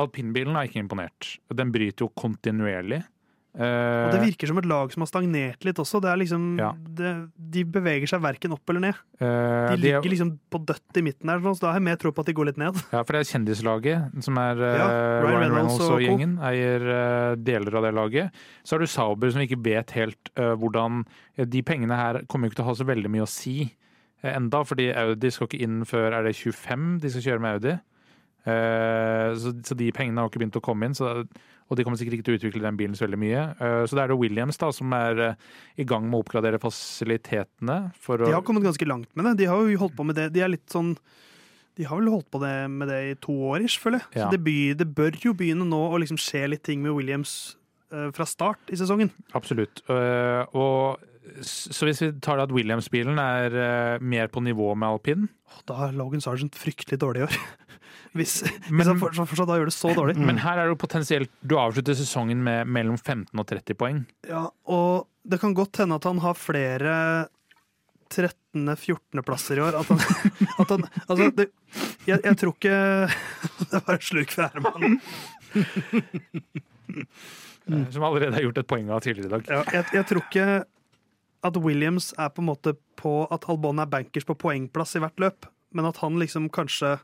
C: Alpinbilen er ikke imponert. Den bryter jo kontinuerlig. Eh,
A: Og det virker som et lag som har stagnert litt også. Det er liksom,
C: Ja. det-
A: de beveger seg verken opp eller ned. De
C: eh, de er-
A: ligger liksom på dødt i midten her, så da har jeg mer tro på at de går litt ned.
C: Ja, for det er kjendislaget som er eh,
A: Ja,
C: Ryan, Reynolds, og,
A: co.
C: gjengen. Eier eh, deler av det laget. Så har du Sauber som ikke vet helt eh, hvordan eh, De pengene her kommer jo ikke til å ha så veldig mye å si eh, enda, fordi Audi skal ikke inn før er det 25 de skal kjøre med Audi. Eh, Så, så de pengene har ikke begynt å komme inn, så, og de kommer sikkert ikke til å utvikle den bilen så veldig mye. Eh, Så det er det Williams da, som er eh, i gang med å oppgradere fasilitetene. For
A: De
C: å,
A: har kommet ganske langt med det. De har jo holdt på med det. De er litt sånn De har vel holdt på det med det i to år, ish, føler jeg. Så
C: Ja.
A: det, by, det bør jo begynne nå å liksom skje litt ting med Williams eh, fra start i sesongen.
C: Absolutt. Eh, Og, s- så hvis vi tar det at Williams-bilen er eh, mer på nivå med alpin
A: Da er Logan Sargent fryktelig dårlig i år. Hvis,
C: Men- Mm.
A: hvis han Mm. fortsatt, fortsatt da gjør det så dårlig.
C: Men her er det jo potensielt Du avslutter sesongen med mellom 15 og 30 poeng.
A: Ja, og det kan godt hende at han har flere 13.-14.-plasser i år. At han, at han Altså, det, jeg, jeg tror ikke Det var en slurk fra Herman. Mm.
C: eh, Som allerede har gjort et poeng av tidligere i dag.
A: Ja, jeg, jeg tror ikke at Williams er på en måte på at Albon er bankers på poengplass i hvert løp, men at han liksom kanskje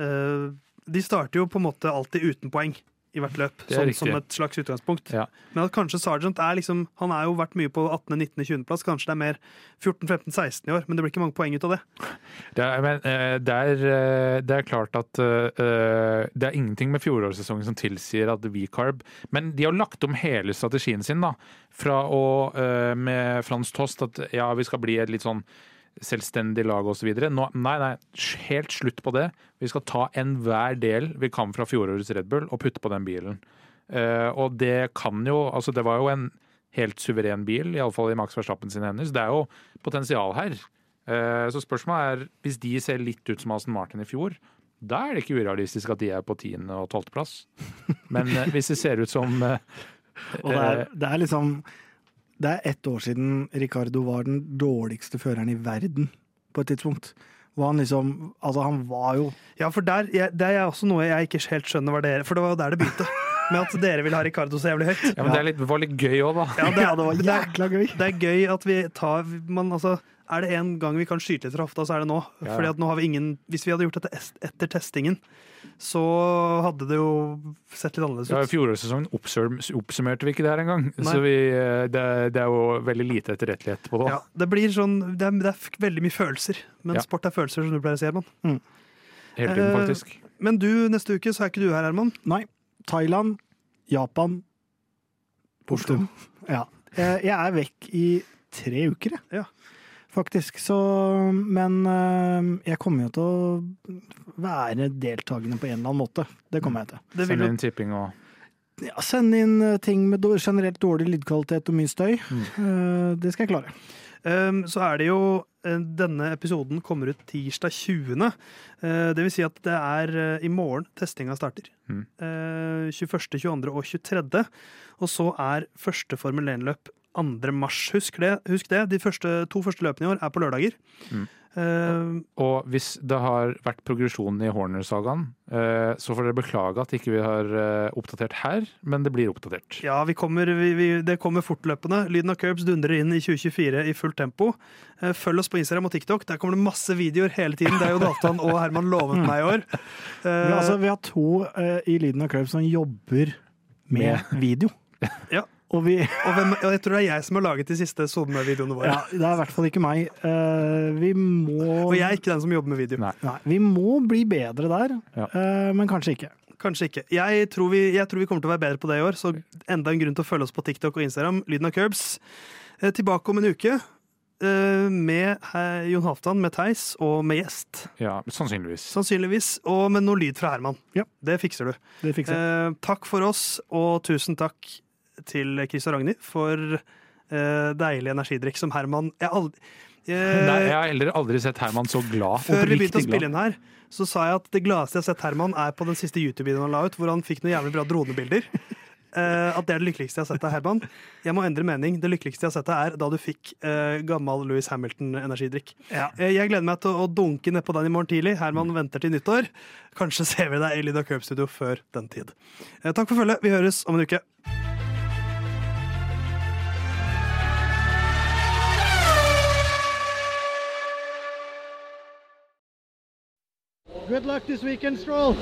A: eh, De starter jo på en måte alltid uten poeng i hvert løp,
C: Det er
A: sånn som
C: riktig.
A: et slags utgangspunkt.
C: Ja.
A: Men at kanskje Sergeant er liksom Han er jo vært mye på 18., 19., 20. plass, kanskje det er mer 14., 15., 16. i år, men det blir ikke mange poeng ut av det.
C: Det er, men, eh, det er, eh, det er klart at eh, det er ingenting med fjorårssesongen som tilsier at V-carb Men de har lagt om hele strategien sin, da. Fra å, eh, med Frans Tost at ja, vi skal bli et litt sånn selvstendig lag osv. Nei, nei, helt slutt på det. Vi skal ta enhver del vi kan fra fjorårets Red Bull og putte på den bilen. Eh, og det kan jo Altså, det var jo en helt suveren bil, iallfall i Max Verstappen sine hender. Så det er jo potensial her. Eh, Så spørsmålet er, hvis de ser litt ut som Aston Martin i fjor, da er det ikke urealistisk at de er på 10. og 12. plass. Men eh, hvis de ser ut som eh,
B: Og det er,
C: eh,
B: det er liksom Det er ett år siden Ricardo var den dårligste føreren i verden på et tidspunkt. Hvor han liksom Altså, han var jo
A: Ja, for der, jeg, det er også noe jeg ikke helt skjønner hva dere For det var jo der det begynte, med at dere ville ha Ricardo så jævlig høyt.
C: ja, men det, er litt, det var litt gøy òg, da.
A: Ja,
B: Ja, det var
A: det er-
B: jækla gøy!
A: Det er gøy at vi tar man, altså, Er det en gang vi kan skyte litt fra hofta, så er det nå.
C: Ja.
A: Fordi at nå har vi ingen Hvis vi hadde gjort dette est- etter testingen, så hadde det jo sett litt annerledes
C: Ja, i
A: ut.
C: Fjorårssesongen oppsum- oppsummerte vi ikke det her engang.
A: Nei.
C: Så vi, eh, det, er- det er jo veldig lite etterrettelighet på det.
A: Ja, det blir sånn Det er, det er f- veldig mye følelser. Men
C: Ja.
A: sport er følelser, som du pleier å si, Herman.
C: Hele tiden,
A: Eh,
C: faktisk.
A: Men du, neste uke så er ikke du her, Herman.
B: Nei. Thailand, Japan Portum. Ja. Eh, Jeg er vekk i tre uker, jeg.
A: Ja.
B: Faktisk. Så Men eh, jeg kommer jo til å være deltakende på en eller annen måte. Det kommer jeg til.
A: Det vil
C: Send
A: jo
C: inn tipping og
B: Ja, Send inn eh, ting med dår- generelt dårlig lydkvalitet og mye støy. Eh, Det skal jeg klare.
A: Ehm, så er det jo eh, Denne episoden kommer ut tirsdag 20. Eh, Det vil si at det er eh, i morgen testinga starter.
C: Mm.
A: Eh, 21., 22. og 23. Og så er første Formel 1-løp 2. mars. Husk det. Husk det. De første, to første løpene i år er på lørdager.
C: Mm.
A: Ehm,
C: Og hvis det har vært progresjon i Horner-sagaen, eh, så får dere beklage at ikke vi har eh, oppdatert her, men det blir oppdatert.
A: ja, vi kommer, vi, vi, det kommer fortløpende. Lyden av curbs dundrer inn i 2024 i fullt tempo. Eh, Følg oss på Instagram og TikTok. Der kommer det masse videoer hele tiden. Det er jo Datan og Herman lovet meg i år. Eh,
B: Vi, har- altså, vi har to eh, i Lyden av Club som jobber med video.
A: Ja.
B: Og vi
A: Og, hvem, og jeg tror det er jeg som har laget de siste SoMe-videoene våre.
B: ja, Det er i hvert fall ikke meg. Eh, vi må
A: Og jeg er ikke den som jobber med video.
C: Nei.
B: Nei, vi må bli bedre der,
C: Ja.
B: eh, men kanskje ikke.
A: Kanskje ikke. Jeg tror, vi, jeg tror vi kommer til å være bedre på det i år, så enda en grunn til å følge oss på TikTok og Instagram. Lyden av curbs. Eh, Tilbake om en uke eh, med eh, Jon Halvdan, med Theis og med gjest.
C: Ja, sannsynligvis.
A: Sannsynligvis. Og med noe lyd fra Herman.
B: Ja.
A: Det fikser du.
B: Det fikser jeg.
A: Eh, takk for oss, og tusen takk til Chris og Ragnhild for eh, deilig energidrikk som Herman Jeg har aldri Eh,
C: Nei, jeg har heller aldri sett Herman så glad.
A: Før vi
C: Oppriktig
A: begynte å
C: glad.
A: spille inn her, så sa jeg at det gladeste jeg har sett Herman, er på den siste YouTube-videoen han la ut, hvor han fikk noen jævlig bra dronebilder. Eh, at det er det lykkeligste jeg har sett av Herman. Jeg må endre mening. Det lykkeligste jeg har sett deg, er da du fikk eh, gammel Louis Hamilton-energidrikk. Eh, jeg gleder meg til å dunke nedpå den i morgen tidlig. Herman venter til nyttår. Kanskje ser vi deg i Lyda Curb Studio før den tid. Eh, takk for følget. Vi høres om en uke.
B: Good luck this weekend, Stroll.